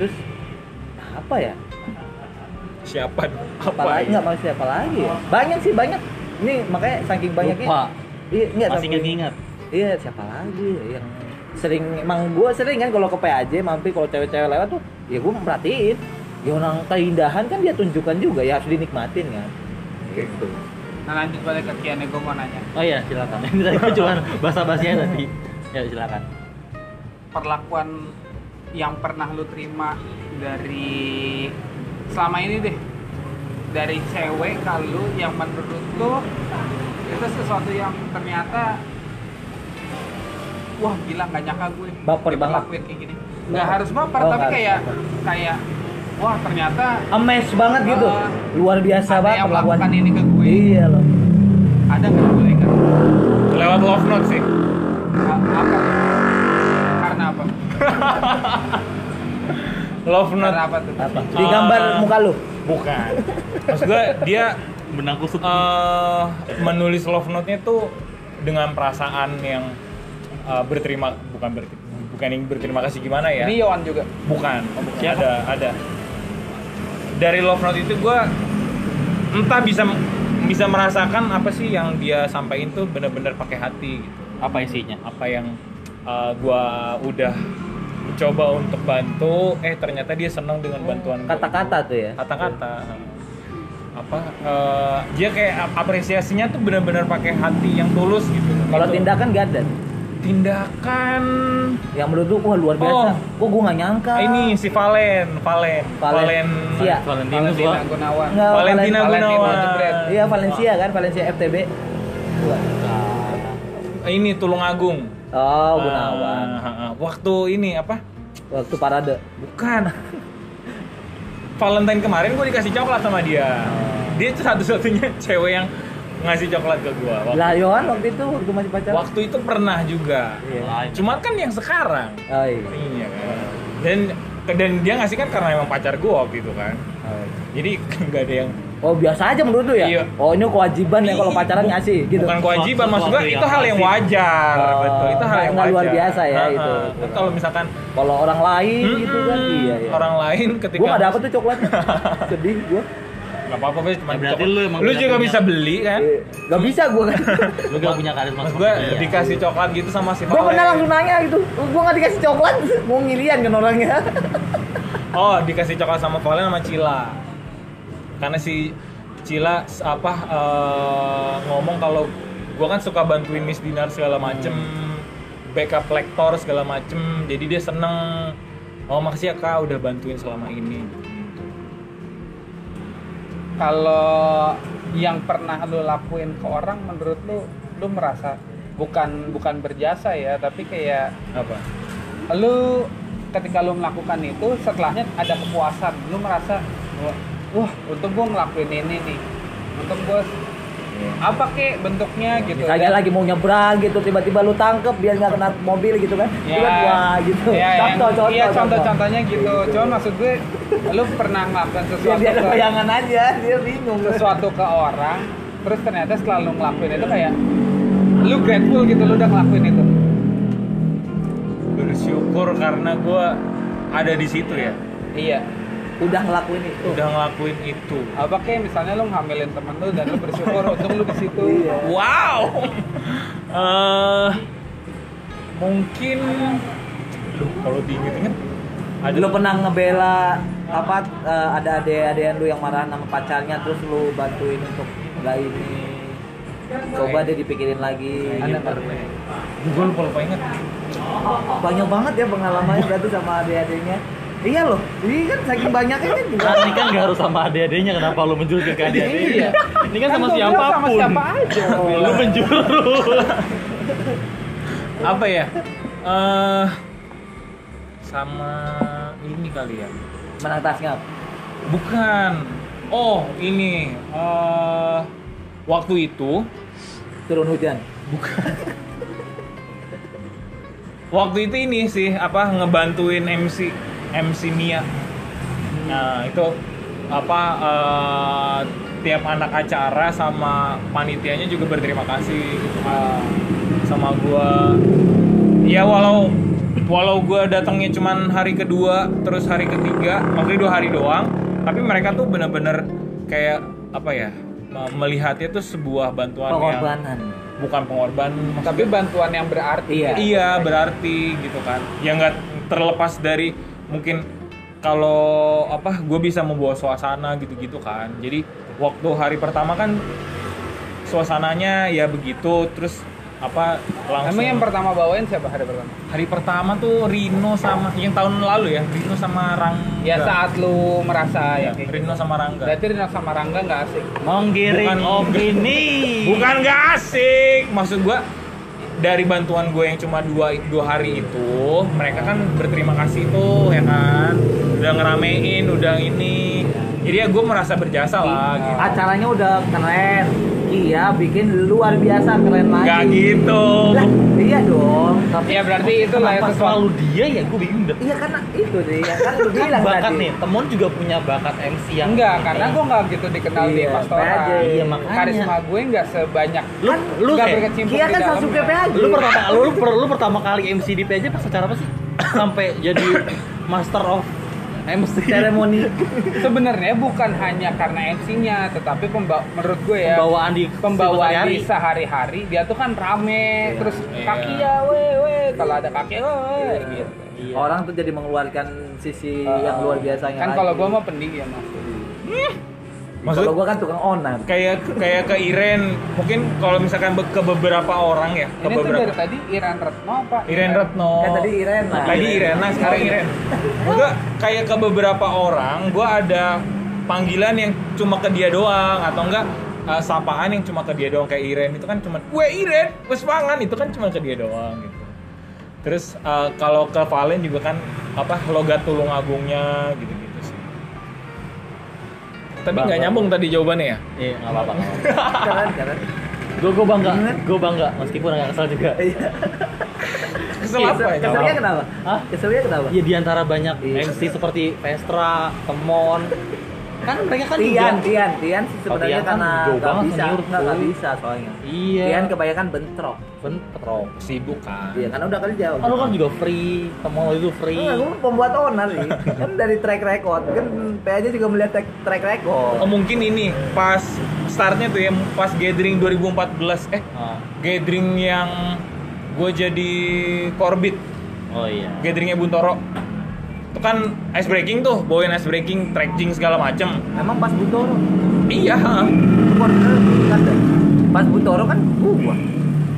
S4: Terus apa ya?
S3: siapa apa
S4: apalagi
S3: ya?
S4: nggak maksudnya apa lagi ya? banyak sih banyak ini makanya saking banyaknya
S2: lupa
S4: iya nggak
S2: masih
S4: tapi-
S2: ingat ingat
S4: iya siapa lagi ya yang sering emang gue sering kan kalau ke PAJ mampir kalau cewek-cewek lewat tuh ya gue merhatiin ya orang keindahan kan dia tunjukkan juga ya harus dinikmatin kan gitu
S1: Nah lanjut balik ke Kian gue mau nanya
S2: oh iya silakan ini tadi gua cuma bahasa bahasanya tadi ya silakan
S1: perlakuan yang pernah lu terima dari selama ini deh dari cewek kalau yang menurut lu itu sesuatu yang ternyata wah gila nggak nyangka gue
S4: Baper banget.
S1: diperlakuin kayak gini nggak
S4: Baper.
S1: harus baper tapi
S4: Oh, nggak harus
S1: kayak
S4: baper.
S1: kayak wah ternyata
S4: emes banget gitu
S1: Ah.
S4: luar biasa
S1: ada
S4: banget
S1: yang
S4: perlakuan
S1: melakukan ini ke gue
S4: iya loh
S1: ada nggak boleh nggak
S3: lewat love note sih
S1: Nggak, apa karena apa
S3: love note
S1: karena apa tuh
S4: apa di gambar
S3: Ah.
S4: muka lu
S3: bukan maksud gue dia
S2: benang kusut
S3: eh menulis love note-nya tuh dengan perasaan yang eh, berterima bukan ber- bukan yang berterima kasih gimana ya?
S1: ini Yohan juga
S3: Bukan.
S2: Siapa?
S3: Ada ada. Dari love note itu gue entah bisa bisa merasakan apa sih yang dia sampaikan tuh bener-bener pakai hati gitu.
S2: apa isinya
S3: Apa yang eh, gua udah coba untuk bantu, eh ternyata dia senang dengan bantuan gua
S4: kata-kata tuh ya
S3: kata-kata apa eh, dia kayak ap- apresiasinya tuh benar-benar pakai hati yang tulus gitu
S4: kalau
S3: Itu.
S4: tindakan gadan
S3: tindakan
S4: yang menurut lu wah luar biasa
S3: Oh.
S4: kok gue nggak nyangka
S3: ini si Valen Valen
S4: Valen.
S3: Valen
S4: Sia.
S2: Valentinus
S1: Valentina
S2: gua
S1: Gunawan
S4: Nggak,
S3: Valentina
S4: Valen-
S1: Valentina
S3: Gunawan
S1: Jebret.
S4: Iya Valencia kan, Valencia FTB. Wah.
S3: ini Tulungagung
S4: Oh,
S3: Eh,
S4: Gunawan.
S3: eh, eh. waktu ini apa
S4: Waktu parade.
S3: bukan Valentine kemarin gue dikasih coklat sama dia dia tuh satu-satunya cewek yang ngasih coklat ke gue waktu,
S4: Lah iya. Yohan waktu itu waktu masih pacaran.
S3: waktu itu pernah juga
S4: Iya.
S2: Lain.
S3: cuman kan yang sekarang
S4: Oh, iya.
S3: Iya kan. Dan dan dia ngasih kan karena emang pacar gue waktu itu kan.
S4: Oh, iya.
S3: Jadi nggak ada yang
S4: Oh, biasa aja menurut lu ya?
S3: Iya.
S4: Oh, ini kewajiban ya kalau pacaran ngasih gitu.
S3: bukan kewajiban maksud gue
S2: Sesuatu
S3: itu hal yang
S2: yang
S3: wajar
S4: Oh,
S3: betul itu hal yang
S4: nggak
S3: wajar
S4: luar biasa ya,
S3: Ha-ha.
S4: itu.
S3: Kan kalau misalkan
S4: Kalau orang lain gitu kan
S3: mm-mm,
S4: iya ya.
S3: Hmm. orang lain ketika
S4: Gua gak dapet tuh coklatnya. Sedih gua.
S3: Nggak apa-apa Fes, cuma
S2: Ya, berarti
S3: coklat.
S2: lu emang punya-
S3: juga
S2: punya-
S3: bisa beli kan
S4: Eh, Gak bisa gua kan.
S2: lu gak punya karisma
S3: maksud
S2: seperti
S3: gue
S2: dia.
S3: dikasih coklat gitu sama si
S4: gua
S3: Valen.
S4: pernah langsung nanya gitu. Gua gak dikasih coklat, mau ngirian kan orangnya.
S3: oh dikasih coklat sama Valen sama Cila karena si Cila s- apa eh, ngomong kalau gua kan suka bantuin Miss Dinar segala macem backup lektor segala macem jadi dia seneng oh makasih ya kak udah bantuin selama ini
S1: kalau yang pernah lu lakuin ke orang menurut lu lu merasa bukan bukan berjasa ya tapi kayak
S3: apa
S1: lu ketika lu melakukan itu setelahnya ada kepuasan lu merasa wah untuk gue ngelakuin ini nih untuk gue apa kek bentuknya gitu
S4: Misalnya
S1: Dan-
S4: Iya. lagi mau nyebrang gitu, tiba-tiba lu tangkep biar nggak kena mobil gitu kan?
S1: Ya.
S4: Tiba wah gitu.
S1: Ya, yang-
S4: contoh, contoh,
S1: iya contoh-contohnya gitu. Cuman maksud gue, lu pernah melakukan
S4: Iya, Biar
S1: sesuatu
S4: dia ada
S1: ke,
S4: bayangan aja, dia bingung.
S1: sesuatu ke orang, terus ternyata setelah lu ngelakuin itu kayak lu grateful gitu lu udah ngelakuin itu
S3: bersyukur karena gue ada di situ ya
S1: iya
S4: udah ngelakuin itu
S3: udah ngelakuin itu
S1: apa kayak misalnya lu ngambilin temen lu dan lu bersyukur untung lu di situ
S4: Iya.
S3: wow eh mungkin Duh, kalau diinget-inget ada
S4: lu pernah ngebela apa eh, ada ade-adean lu yang marah sama pacarnya terus lu bantuin untuk nggak ini coba deh dipikirin lagi
S1: Ada
S4: Gitu.
S1: nggak?
S3: gue lupa lupa inget
S4: banyak banget ya pengalamannya berarti sama ade-adenya iya loh ini kan saking banyaknya kan juga
S2: Kan ini kan gak harus sama adik-adiknya kenapa lu menjurus ke
S1: Iya.
S2: adik-adiknya? Ini kan sama
S1: gua bilang sama
S2: siapapun.
S1: siapa aja
S2: Lu menjurus.
S3: apa ya eh sama ini kali ya
S4: menang tasnya
S3: bukan oh ini eh waktu itu
S4: turun hujan
S3: waktu itu ini sih apa ngebantuin MC MC Mia nah itu apa eh, tiap anak acara sama panitianya juga berterima kasih gitu, eh, sama gua ya walau walau gua datangnya cuman hari kedua terus hari ketiga maksudnya dua hari doang tapi mereka tuh bener-bener kayak apa ya me- melihatnya tuh sebuah bantuan yang
S4: pengorbanan
S3: bukan pengorbanan maksudnya
S1: tapi bantuan yang berarti
S4: iya
S3: Iya berarti gitu kan. Ya nggak terlepas dari mungkin kalau apa gue bisa membawa suasana gitu-gitu kan. Jadi waktu hari pertama kan suasananya ya begitu. Terus apa langsung
S1: emang yang pertama bawain siapa hari pertama
S3: hari pertama tuh Rino sama yang tahun lalu ya Rino sama Rangga.
S1: ya saat lu merasa ya
S3: Ya,
S1: kayak gitu.
S3: Rino sama Rangga.
S1: berarti Rina sama Rangga nggak asik
S2: Menggiring
S3: Bukan-
S2: opini.
S3: Bukan nggak asik, maksud gua dari bantuan gue yang cuma dua, dua hari itu, mereka kan berterima kasih tuh ya kan, udah ngeramein, udah ini, jadi ya gue merasa berjasa lah. Gitu.
S4: acaranya udah keren iya bikin luar biasa keren lagi
S3: Gak gitu,
S4: Lah, iya dong tapi
S1: ya berarti itu lah
S2: Kenapa
S1: sesuatu
S2: selalu dia ya gue bingung deh.
S4: iya karena itu deh ya kan lu
S2: Kan
S4: bilang
S2: bakat
S4: tadi
S2: nih, temen juga punya bakat MC yang
S1: enggak karena gue nggak gitu dikenal di
S4: Iya,
S1: pastoran
S4: aja.
S2: Iya, makanya.
S1: karisma gue nggak sebanyak
S2: lu lu
S1: nggak
S2: kayak-
S1: kan berkecimpung di
S4: Kia
S1: ya.
S4: kan
S1: dalamnya.
S4: Sasuke PH
S2: lu pertama lu, lu, per- lu pertama kali MC di PJ pas acara apa sih? Sampai jadi master of MC
S4: seremoni
S1: sebenarnya bukan hanya karena MC-nya tetapi pemba- menurut gue ya
S2: pembawaan di
S1: pembawaan
S2: sehari-hari.
S1: di sehari-hari dia tuh kan rame terus
S3: Iya.
S1: kaki ya we we kalau ada kaki we we gitu
S2: Iya.
S4: orang tuh jadi mengeluarkan sisi
S1: Uh,
S4: yang luar biasanya
S1: kan
S4: lagi.
S1: kalau gue mah pendiam mas
S3: maksud
S4: kalau gua kan tukang onan
S3: kayak kayak ke Iren, mungkin kalau misalkan be- ke beberapa orang ya, ke
S1: ini tuh dari
S3: beberapa
S1: tadi Iran Retno apa
S3: Iren Retno.
S4: kan tadi Iren lah
S3: Tadi Iren, nah sekarang Iren. Juga kayak ke beberapa orang, gue ada panggilan yang cuma ke dia doang atau enggak uh, sapaan yang cuma ke dia doang kayak Iren itu kan cuma, "Weh Iren, wes mangan." Itu kan cuma ke dia doang gitu. Terus uh, kalau ke Valen juga kan apa logat tulung agungnya gitu-gitu sih. Tapi nggak nyambung tadi jawabannya ya?
S2: Iya, nggak apa-apa.
S4: keren keren
S2: Gue gue bangga, gue bangga meskipun agak kesel juga.
S4: Iya.
S3: Kesel apa ya?
S4: keselnya kenapa
S2: Hah?
S4: keselnya kenapa
S2: Ya di antara banyak
S4: Iya.
S2: MC seperti Vestra, Temon, kan mereka kan
S4: Tian,
S2: juga.
S4: Tian, Tian sih sebenarnya
S2: Tian kan
S4: karena
S2: jauh
S4: nggak
S2: banget
S4: bisa,
S2: senior,
S4: nggak nggak
S2: cuy.
S4: bisa soalnya.
S2: Iya.
S4: Tian kebanyakan bentrok.
S2: bentrok.
S3: Sibuk kan.
S4: Iya, karena udah kerja.
S2: Oh, lu kan juga free, Temon lu itu free.
S4: Enggak, gue Iya, pembuat onar nih. kan dari track record, kan PA-nya juga melihat track, track record.
S3: Oh, mungkin ini pas startnya tuh ya pas gathering 2014 eh
S2: Ah.
S3: gathering yang gue jadi korbit
S2: Oh iya.
S3: gatheringnya Buntoro itu kan ice breaking tuh bawain ice breaking tracking segala macem
S4: Emang pas Butoro,
S3: iya
S4: lu koordinator bukan deh. Pas Butoro kan gua.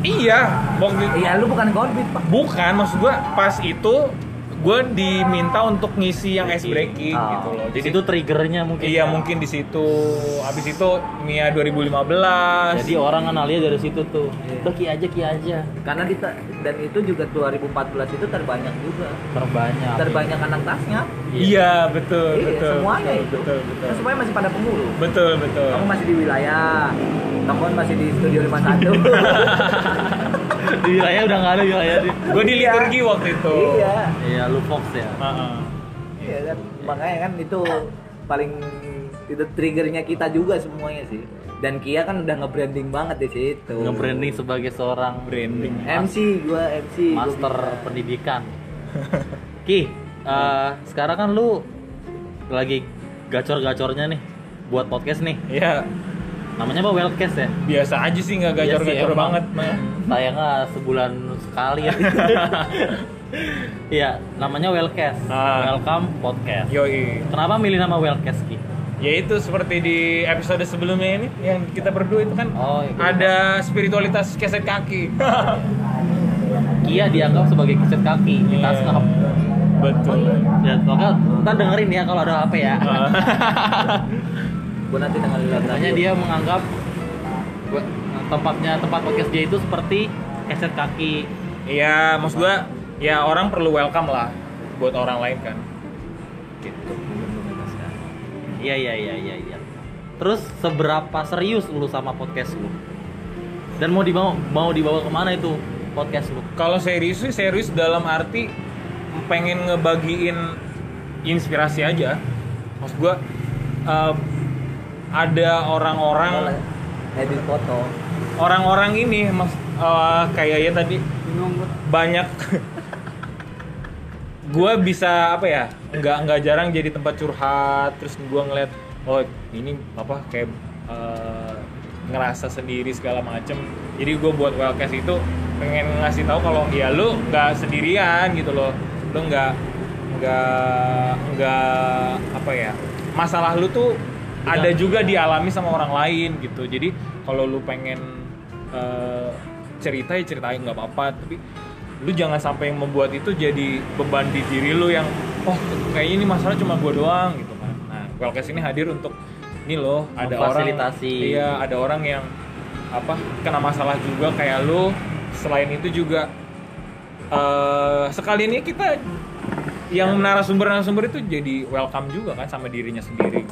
S3: iya waktu itu-
S4: Iya, lu bukan korbit, Pak.
S3: bukan maksud gue pas itu gue diminta untuk ngisi yang ice breaking
S4: Oh.
S3: gitu loh
S2: Di
S3: jadi
S2: situ triggernya mungkin. ya.
S3: iya mungkin di situ abis itu Mia 2015
S2: Jadi orang kenalnya dari situ tuh.
S4: Iya.
S2: Udah ki aja ki aja.
S4: Karena kita dan itu juga 2014 itu terbanyak juga.
S2: Terbanyak.
S4: Terbanyak anak tasnya.
S3: iya betul
S4: Iya,
S3: betul
S4: semuanya
S3: betul,
S4: itu.
S3: betul
S4: Kan
S3: betul
S4: semuanya masih pada pengurus.
S3: betul betul
S4: Kamu masih di wilayah. Kamu masih di studio 51.
S2: di wilayah udah nggak ada wilayah di.
S3: gue di liturgi waktu itu
S4: iya.
S2: Iya, lu Fox ya.
S3: Heeh.
S4: Iya kan. Makanya kan itu paling itu triggernya kita juga semuanya sih dan Kia kan udah nge-branding banget di situ
S2: nge-branding sebagai seorang branding
S4: MC gua MC gua
S2: master
S4: bisa.
S2: pendidikan. Ki, eh, sekarang kan lu lagi gacor-gacornya nih buat podcast nih.
S3: Ya
S2: Namanya apa? Wellcast ya?
S3: biasa aja sih nggak
S2: Iya
S3: gacor-gacor
S2: sih, emang.
S3: banget mah.
S2: Tayangnya sebulan sekali ya. Iya, namanya Wellcast.
S3: Ah.
S2: Welcome Podcast.
S3: Yoi.
S2: Kenapa milih nama Wellcast, Ki?
S3: Ya itu seperti di episode sebelumnya ini yang kita berdua itu kan
S2: Oh, iya.
S3: ada spiritualitas keset kaki.
S2: Kia ya dianggap sebagai kiset kaki, kita
S3: Iya.
S2: snap.
S3: Betul.
S2: Ya, pokoknya ntar dengerin ya kalau ada HP ya.
S4: gua nanti dengan lihat
S2: Makanya dia menganggap gua- tempatnya tempat podcast dia itu seperti keset kaki.
S3: Iya, maksud gua ya orang perlu welcome lah buat orang lain kan.
S2: Gitu. Iya iya iya iya iya. Terus seberapa serius lu sama podcast lu? Dan mau dibawa mau dibawa kemana itu podcast lu?
S3: Kalau serius sih serius dalam arti pengen ngebagiin inspirasi aja. Maksud gua eh, ada orang-orang
S4: edit foto
S3: orang-orang ini mas eh, kayak ya tadi banyak gue bisa apa ya nggak nggak jarang jadi tempat curhat terus gue ngeliat oh ini apa kayak eh, ngerasa sendiri segala macem jadi gue buat wellcast itu pengen ngasih tahu kalau ya lu nggak sendirian gitu loh lu nggak nggak nggak apa ya masalah lu tuh ada juga dialami sama orang lain gitu jadi kalau lu pengen eh, cerita ya ceritain nggak apa-apa tapi lu jangan sampai membuat itu jadi beban di diri lu yang oh kayaknya ini masalah cuma gua doang gitu kan nah Wellcast ini hadir untuk ini loh ada orang
S2: Memfasilitasi.
S3: iya ada orang yang apa kena masalah juga kayak lu selain itu juga eh sekali ini kita yang narasumber narasumber itu jadi welcome juga kan sama dirinya sendiri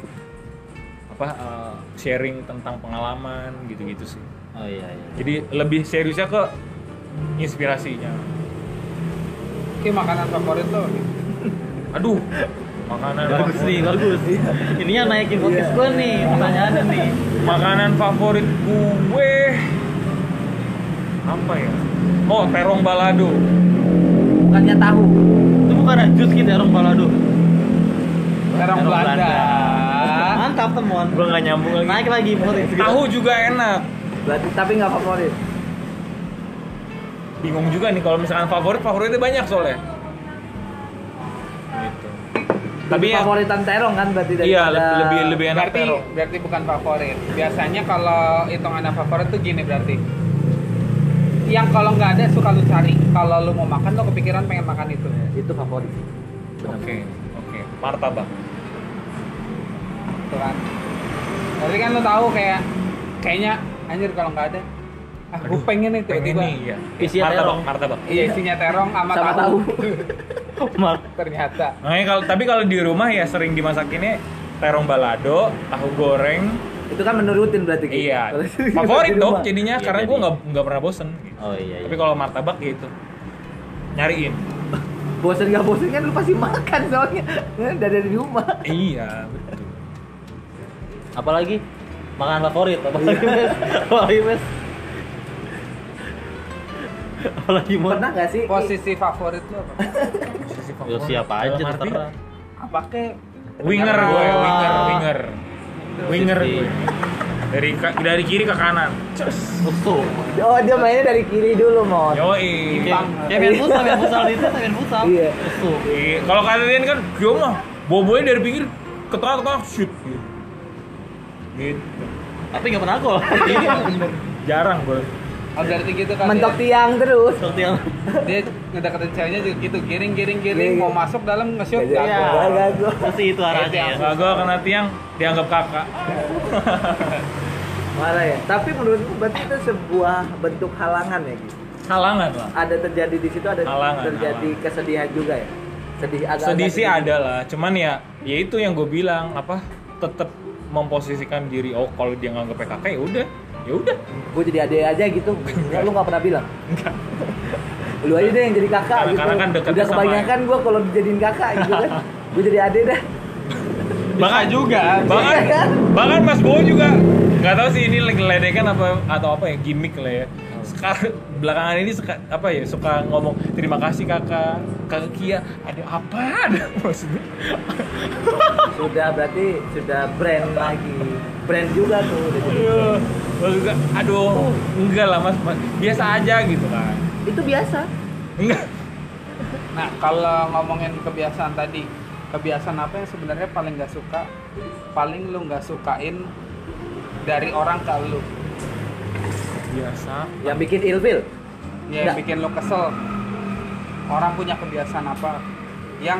S3: apa eh, sharing tentang pengalaman gitu-gitu sih
S2: Oh iya iya.
S3: jadi lebih seriusnya ke inspirasinya
S1: Oke, makanan favorit lo?
S3: Aduh, makanan
S2: Bagus
S3: favorit.
S2: nih, bagus.
S4: Iya.
S2: Ini yang naikin podcast gua nih, pertanyaannya nih.
S3: Makanan favorit gue apa ya? Oh, terong balado.
S4: bukannya tahu
S2: Itu bukan jus kita orang balado.
S1: Terong
S2: Terong
S1: Belanda.
S2: Mantap temuan.
S3: Gue nggak nyambung lagi.
S2: Naik lagi podcast kita.
S3: Tahu juga enak.
S4: berarti tapi nggak favorit
S3: Bingung juga nih kalau misalkan favorit, favoritnya banyak soalnya. Gitu. Tapi ya,
S4: favoritan terong kan berarti dari
S3: iya lebih lebih lebih enak
S1: Berarti
S3: terong.
S1: berarti bukan favorit. Biasanya kalau hitungannya favorit tuh gini berarti. Yang kalau nggak ada suka lu cari. Kalau lu mau makan lo kepikiran pengen makan itu.
S4: itu favorit
S3: Oke, oke. Martabak.
S1: Gitu kan. Berarti kan lu tahu kayak kayaknya anjir kalau nggak ada ah gue
S3: Aduh,
S1: pengen itu
S3: Pengen
S1: tiba
S3: nih ya.
S2: Isinya
S3: Martabak,
S2: terong.
S3: martabak.
S1: Iya isinya terong sama,
S4: sama
S1: tahu.
S4: tahu
S2: Mar-
S1: Ternyata.
S3: Makanya kalau tapi kalau di rumah ya sering dimasakinnya terong balado, tahu goreng,
S4: itu kan menurutin berarti Ki.
S3: Iya.
S4: Kalau
S3: Favorit
S4: di
S3: dong
S4: rumah.
S3: jadinya
S2: Iya,
S3: karena
S2: jadi.
S3: gue nggak nggak pernah bosen. gitu.
S2: Oh iya.
S3: Tapi
S2: iya.
S3: kalau martabak ya itu nyariin.
S4: bosen nggak bosen kan lu pasti makan soalnya dari dari rumah
S3: iya betul.
S2: Apalagi makanan favorit, apalagi mes, apalagi mes. Apalagi mau
S4: pernah nggak sih Ki?
S1: Posisi favorit lu apa?
S2: Ya siapa aja terserah.
S1: apa kek?
S3: Winger gue,
S2: Oh.
S3: winger, winger, winger
S2: Posisi.
S3: gue. Dari ka- dari kiri ke kanan. Cus.
S2: Usul.
S4: oh dia mainnya dari kiri dulu mon
S3: Yoi.
S2: Kayak kayak main futsal, main futsal itu main futsal.
S4: Iya.
S2: Usul.
S3: Iya. Iya. Kalau kalian kan gue mah bobonya dari pinggir ke tengah ke tengah shoot. Gitu. Gitu.
S2: Tapi nggak pernah gol.
S3: Jarang gue.
S1: Oh berarti gitu kan
S4: mentok
S1: ya?
S4: tiang terus
S2: Seperti yang
S1: Dia ngedeketin ceweknya juga gitu Giring, giring, giring
S4: Iya,
S1: Mau
S4: iya.
S1: masuk dalam nge-shoot
S4: Iya,
S1: nggak?
S4: iya. Gagal.
S2: Pasti itu arahnya. ya.
S3: Gak gue kena tiang dianggap kakak.
S4: marah ya tapi menurutku berarti itu sebuah bentuk halangan ya gitu
S3: Halangan lah.
S4: ada terjadi di situ ada
S3: Halangan,
S4: terjadi kesedihan juga ya sedih agak
S3: sedih sih ada lah cuman ya ya itu yang gue bilang apa tetap memposisikan diri oh kalau dia nganggep PKK ya udah ya udah
S4: gue jadi adek aja gitu Enggak, lu nggak pernah bilang lu aja deh yang jadi kakak
S3: Karena-
S4: gitu
S3: karena kan deketnya
S4: udah
S3: sama
S4: kebanyakan gue kalau dijadiin kakak gitu kan gue jadi adek dah
S1: Bahkan juga.
S3: bahkan
S4: Iya kan?
S3: bahkan Mas Bowo juga nggak tahu sih ini ledekan apa atau apa ya gimmick lah ya
S4: Hmm.
S3: sekarang belakangan ini suka apa ya suka ngomong terima kasih kakak kakak Kia ada apa ada apa?" maksudnya
S4: sudah berarti sudah brand lagi brand juga tuh udah jadi
S3: aduh juga aduh enggak lah mas, Mas. biasa aja gitu kan
S4: brand. itu biasa
S3: enggak
S1: Nah, kalau ngomongin kebiasaan tadi, kebiasaan apa yang sebenarnya paling nggak suka, paling lu nggak sukain dari orang ke lu,
S3: biasa
S4: yang bikin ilfil
S1: ya yang
S4: Nggak.
S1: bikin lu kesel. Orang punya kebiasaan apa yang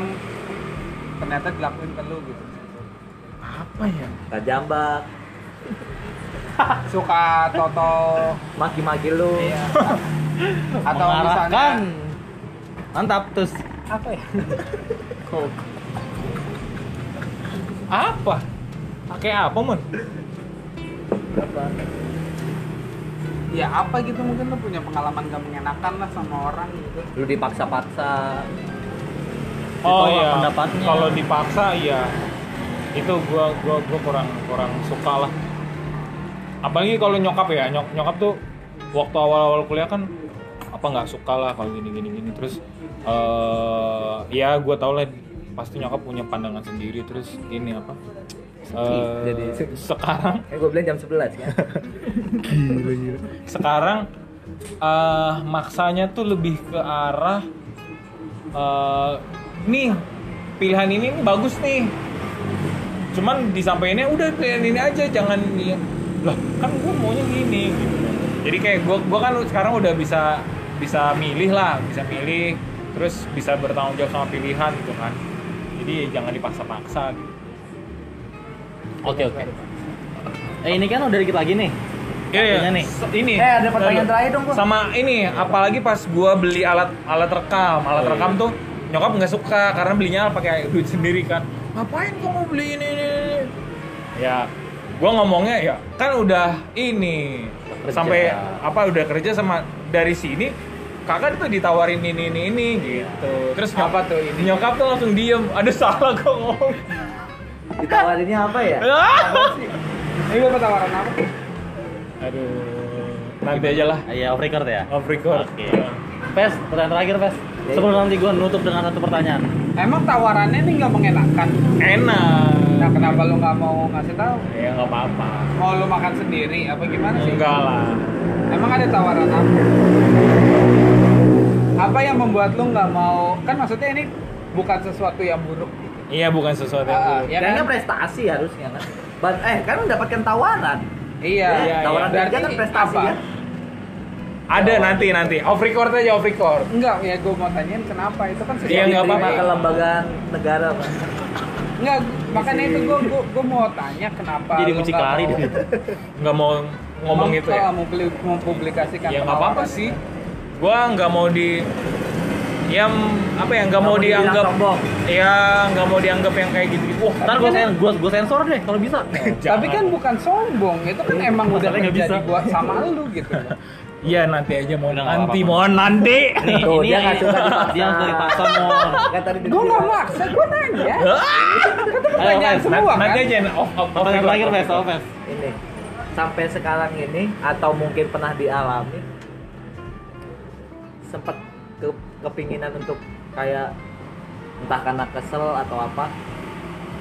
S1: ternyata dilakuin ke lu gitu.
S3: apa ya
S4: tak jambak
S1: Suka toto,
S4: maki-maki lu
S1: iya. atau misalnya
S2: Mengarahkan. mantap terus
S1: apa ya? Kok
S3: apa pakai apa mon
S1: apa? Ya apa gitu mungkin lu punya pengalaman gak mengenakan lah sama orang gitu.
S4: lu dipaksa-paksa
S3: oh
S2: Ditolak
S3: iya
S2: pendapatnya.
S3: kalau dipaksa iya itu gua gua gua kurang kurang suka lah apalagi kalau nyokap ya nyok, nyokap tuh waktu awal-awal kuliah kan apa nggak suka lah kalau gini gini gini terus eh ya gua tau lah pasti nyokap punya pandangan sendiri terus ini apa eh,
S4: Jadi-
S3: sekarang
S4: eh gue bilang jam 11 kan
S3: sekarang eh maksanya tuh lebih ke arah eh, nih pilihan ini nih bagus nih cuman disampaikannya udah pilihan ini aja jangan dia lah kan gue maunya gini gitu jadi kayak gue gua kan sekarang udah bisa bisa milih lah bisa milih terus bisa bertanggung jawab sama pilihan gitu kan jadi jangan dipaksa-paksa gitu
S2: oke oke eh ini kan udah dikit lagi nih Artinya nih.
S3: Iya, Se- ini.
S4: Eh, ada pertanyaan
S3: Lalu.
S4: terakhir dong, Bro.
S3: Sama ini, apalagi pas gua beli alat alat rekam, alat
S4: Oh, iya.
S3: rekam tuh nyokap nggak suka karena belinya pakai duit sendiri kan. Ngapain kamu beli ini, ini, ini? Ya, gua ngomongnya ya kan udah ini
S4: Kerja.
S3: sampai apa udah kerja sama dari sini kakak tuh ditawarin ini ini ini gitu. Terus
S1: Apa
S3: nyokap
S1: tuh ini?
S3: Nyokap tuh langsung diem. Ada salah kok ngomong.
S4: ditawarinnya apa ya
S1: Ini lu tawaran apa?
S3: Aduh. Nanti aja lah.
S2: iya off record ya
S3: Off record.
S2: Oke. Pes, pertanyaan terakhir Pes. Sebelum nanti gue nutup dengan satu pertanyaan.
S1: Emang tawarannya nih nggak mengenakan.
S3: Enak.
S1: Nah kenapa lu nggak mau ngasih tahu?
S3: Ya nggak apa-apa.
S1: Mau lu makan sendiri apa gimana sih?
S3: Enggak lah.
S1: Emang ada tawaran apa? Apa yang membuat lu nggak mau? Kan maksudnya ini bukan sesuatu yang buruk.
S3: Iya bukan sesuatu yang
S1: Ah,
S3: buruk.
S1: ya
S4: kayaknya
S1: kan?
S4: prestasi harusnya kan But, eh kan mendapatkan tawaran Ya,
S1: Iya.
S3: Iya,
S4: tawaran
S3: iya.
S4: kerja kan prestasi
S1: apa?
S4: kan
S3: Ada nanti nanti. Off record aja off record.
S1: Enggak, ya gue mau tanyain kenapa itu kan sesuatu.
S3: Iya,
S4: Yang
S3: nggak
S4: diterima
S3: apa-apa.
S4: ke lembagaan negara Pak.
S1: Enggak, makanya itu gue gue mau tanya kenapa.
S2: Jadi
S1: lu nggak
S2: mucikari
S1: mau-
S2: deh.
S3: Nggak mau ngomong
S1: Mem-
S3: itu ya.
S1: kalau mempubli- mempublikasikan.
S3: Ya nggak apa-apa
S1: tawaran
S3: sih.
S1: itu.
S3: Gua nggak mau di yang apa ya nggak mau
S4: Kamu dibilang
S3: dianggap
S4: sombong.
S3: ya nggak mau dianggap yang kayak gitu gitu wah
S2: Ntar gue sen gua, gua sensor deh kalau bisa.
S1: Tapi kan bukan sombong, itu kan emang udah
S2: Masalahnya nggak
S1: terjadi
S2: bisa.
S1: gua sama lu gitu. loh.
S3: iya nanti aja mau
S2: Udah nggak
S3: nanti
S2: apa-apa.
S3: mohon nanti
S2: Nih,
S4: Tuh,
S2: ini
S4: dia nggak suka dipaksa.
S2: Dia harus dipaksa mau.
S4: kan tadi
S1: Gue nggak maksa, gue nanya. Kan itu pertanyaan
S2: Mas,
S1: semua
S3: nanti
S1: kan.
S3: aja off off off
S2: Pertanyaan
S3: record.
S2: terakhir Pes, apa Pes?
S4: ini sampai sekarang ini atau mungkin pernah dialami sempat ke kepinginan untuk kayak entah karena kesel atau apa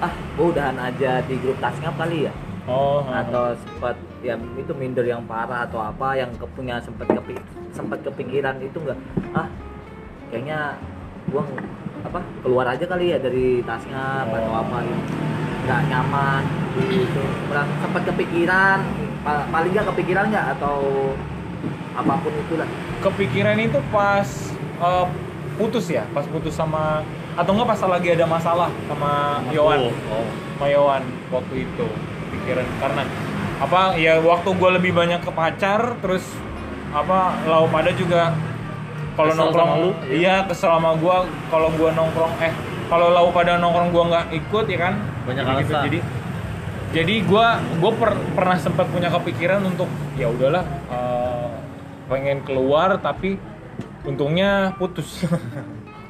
S4: ah gue udahan aja di grup tasnya kali ya
S3: oh atau
S4: atau sempat ya itu minder yang parah atau apa yang ke- punya sempat kepi sempat kepikiran itu enggak ah kayaknya gua ng- apa keluar aja kali ya dari tasnya
S3: Oh.
S4: atau apa gitu nggak nyaman gitu Pernah sempat kepikiran pa- paling nggak kepikiran nggak atau apapun itulah
S3: kepikiran itu pas eh, putus ya pas putus sama atau enggak pas lagi ada masalah sama Yohan
S2: Oh.
S3: Mayawan waktu itu pikiran karena apa ya waktu gue lebih banyak ke pacar terus apa lau pada juga kalau
S2: Kesel
S3: nongkrong
S2: sama lu?
S3: iya kesel sama gue kalau gue nongkrong eh kalau lau pada nongkrong gue nggak ikut ya kan
S2: Banyak
S3: Jadi
S2: alasan.
S3: jadi jadi gue gue pernah sempat punya kepikiran untuk ya udahlah eh, pengen keluar tapi untungnya putus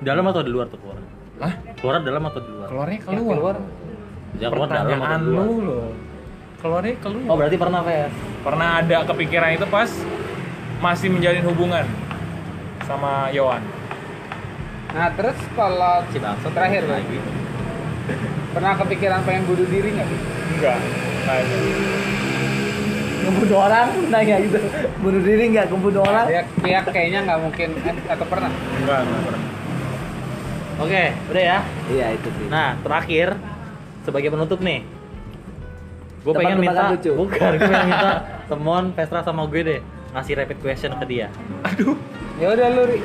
S2: Dalam atau di luar tuh keluar?
S3: Hah?
S2: Keluar dalam atau di luar?
S3: keluarnya
S1: Ya, keluar.
S3: keluar
S2: Jakarta dalam
S3: pertanyaan
S2: atau
S3: lu
S2: luar?
S3: loh keluarnya keluar
S2: Oh berarti pernah Fes?
S3: pernah ada kepikiran itu pas masih menjalin hubungan sama Yohan
S1: Nah terus kalau
S2: Si Bangsa
S1: terakhir Bang.
S2: lagi.
S1: pernah kepikiran pengen bunuh diri nggak?
S3: enggak enggak ada.
S4: ngebunuh orang nanya gitu bunuh diri nggak ngebunuh orang
S1: Ya, ya kayaknya nggak mungkin eh, atau pernah.
S3: enggak enggak pernah
S2: Oke, udah ya.
S4: iya itu sih
S2: Nah, terakhir sebagai penutup nih. Gue
S4: Tebak-tebakan
S2: pengen minta
S4: lucu.
S2: bukan, gue pengen minta temuan Vestra sama gue deh ngasih rapid question ke dia.
S1: Ya udah lu Ri.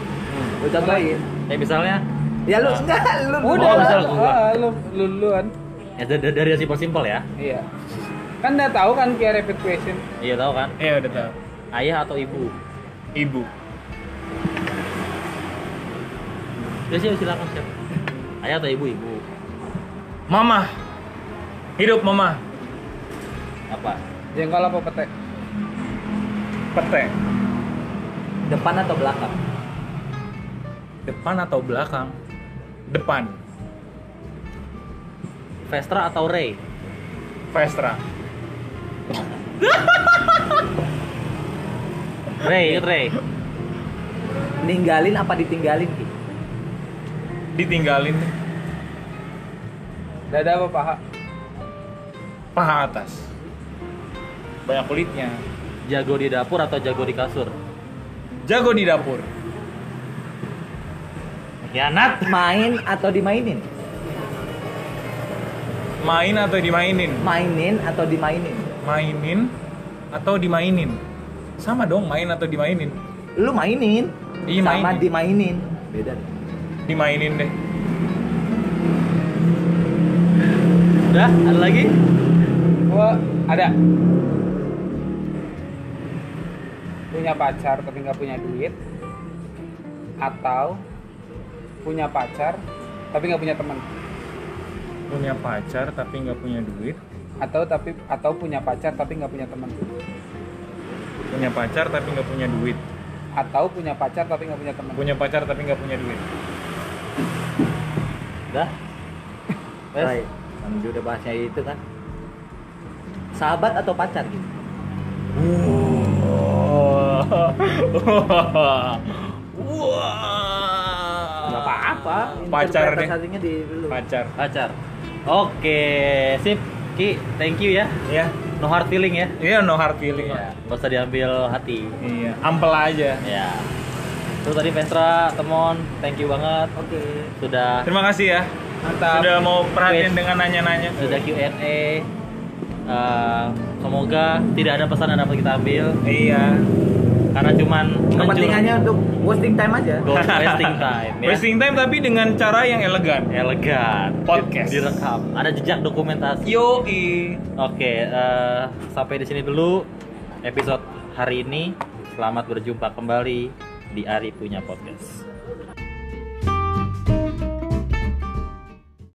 S4: Gua contohin
S2: Ya misalnya
S4: ya lu
S2: Ah.
S4: enggak lu
S1: Nah. udah
S2: Oh,
S1: lah,
S2: misal
S1: lu,
S2: gua.
S1: ah, lu, lu duluan.
S2: ya dari, dari yang simpel-simpel ya.
S1: Iya. Kan udah tahu kan kayak rapid question.
S2: Iya tahu kan?
S3: iya udah tahu
S2: Ayah atau ibu?
S3: ibu
S2: Ya sih silakan siap. Ayah atau ibu? Ibu.
S3: mama hidup mama
S2: Apa?
S1: Jengkol apa petek?
S3: pete
S4: depan atau belakang
S3: depan atau belakang depan
S2: Vestra atau Ray?
S3: Vestra
S2: Ray, inget Ray.
S4: ninggalin apa ditinggalin Ki?
S3: ditinggalin
S1: Dada apa paha?
S3: paha atas banyak kulitnya
S2: Jago di dapur atau jago di kasur?
S3: jago di dapur
S2: Khianat.
S4: main atau dimainin
S3: main atau dimainin
S4: mainin atau dimainin
S3: mainin atau dimainin sama dong main atau dimainin
S4: lu mainin
S3: Iya,
S4: sama
S3: mainin.
S4: dimainin beda deh.
S3: dimainin deh
S2: Udah, ada lagi?
S1: Gua ada. Punya pacar tapi nggak punya duit. Atau punya pacar tapi nggak punya teman.
S3: punya pacar tapi nggak punya duit
S1: Atau tapi atau punya pacar tapi nggak punya teman.
S3: punya pacar tapi nggak punya duit
S1: Atau punya pacar tapi nggak punya teman.
S3: punya pacar tapi nggak punya duit
S4: Udah?
S2: Wes?
S4: Ray, kan udah bahasnya itu kan. Sahabat atau pacar gitu?
S3: Wah.
S4: Gak apa-apa.
S3: Pacar deh.
S4: Interpretasinya di dulu.
S3: pacar
S2: Pacar. Oke, sip. Ki, thank you ya.
S3: ya
S2: No hard feeling ya.
S3: iya no hard feeling
S2: Iya, gak usah diambil hati.
S3: iya ampel aja
S2: Ya. Itu tadi Vestra, Temon, thank you banget
S4: Oke.
S2: sudah
S3: terima kasih ya
S1: Mantap.
S3: sudah mau perhatian
S2: Wait.
S3: dengan nanya-nanya
S2: sudah Q&A. Eh, semoga tidak ada pesan yang dapat kita ambil
S3: iya
S2: karena cuman
S4: Kepentingannya untuk wasting time aja.
S2: menjur- Go wasting time ya.
S3: wasting time tapi dengan cara yang elegan
S2: elegan
S3: Podcast.
S2: direkam ada jejak dokumentasi
S3: yoi
S2: oke eh, sampai di sini dulu episode hari ini selamat berjumpa kembali di Ari punya podcast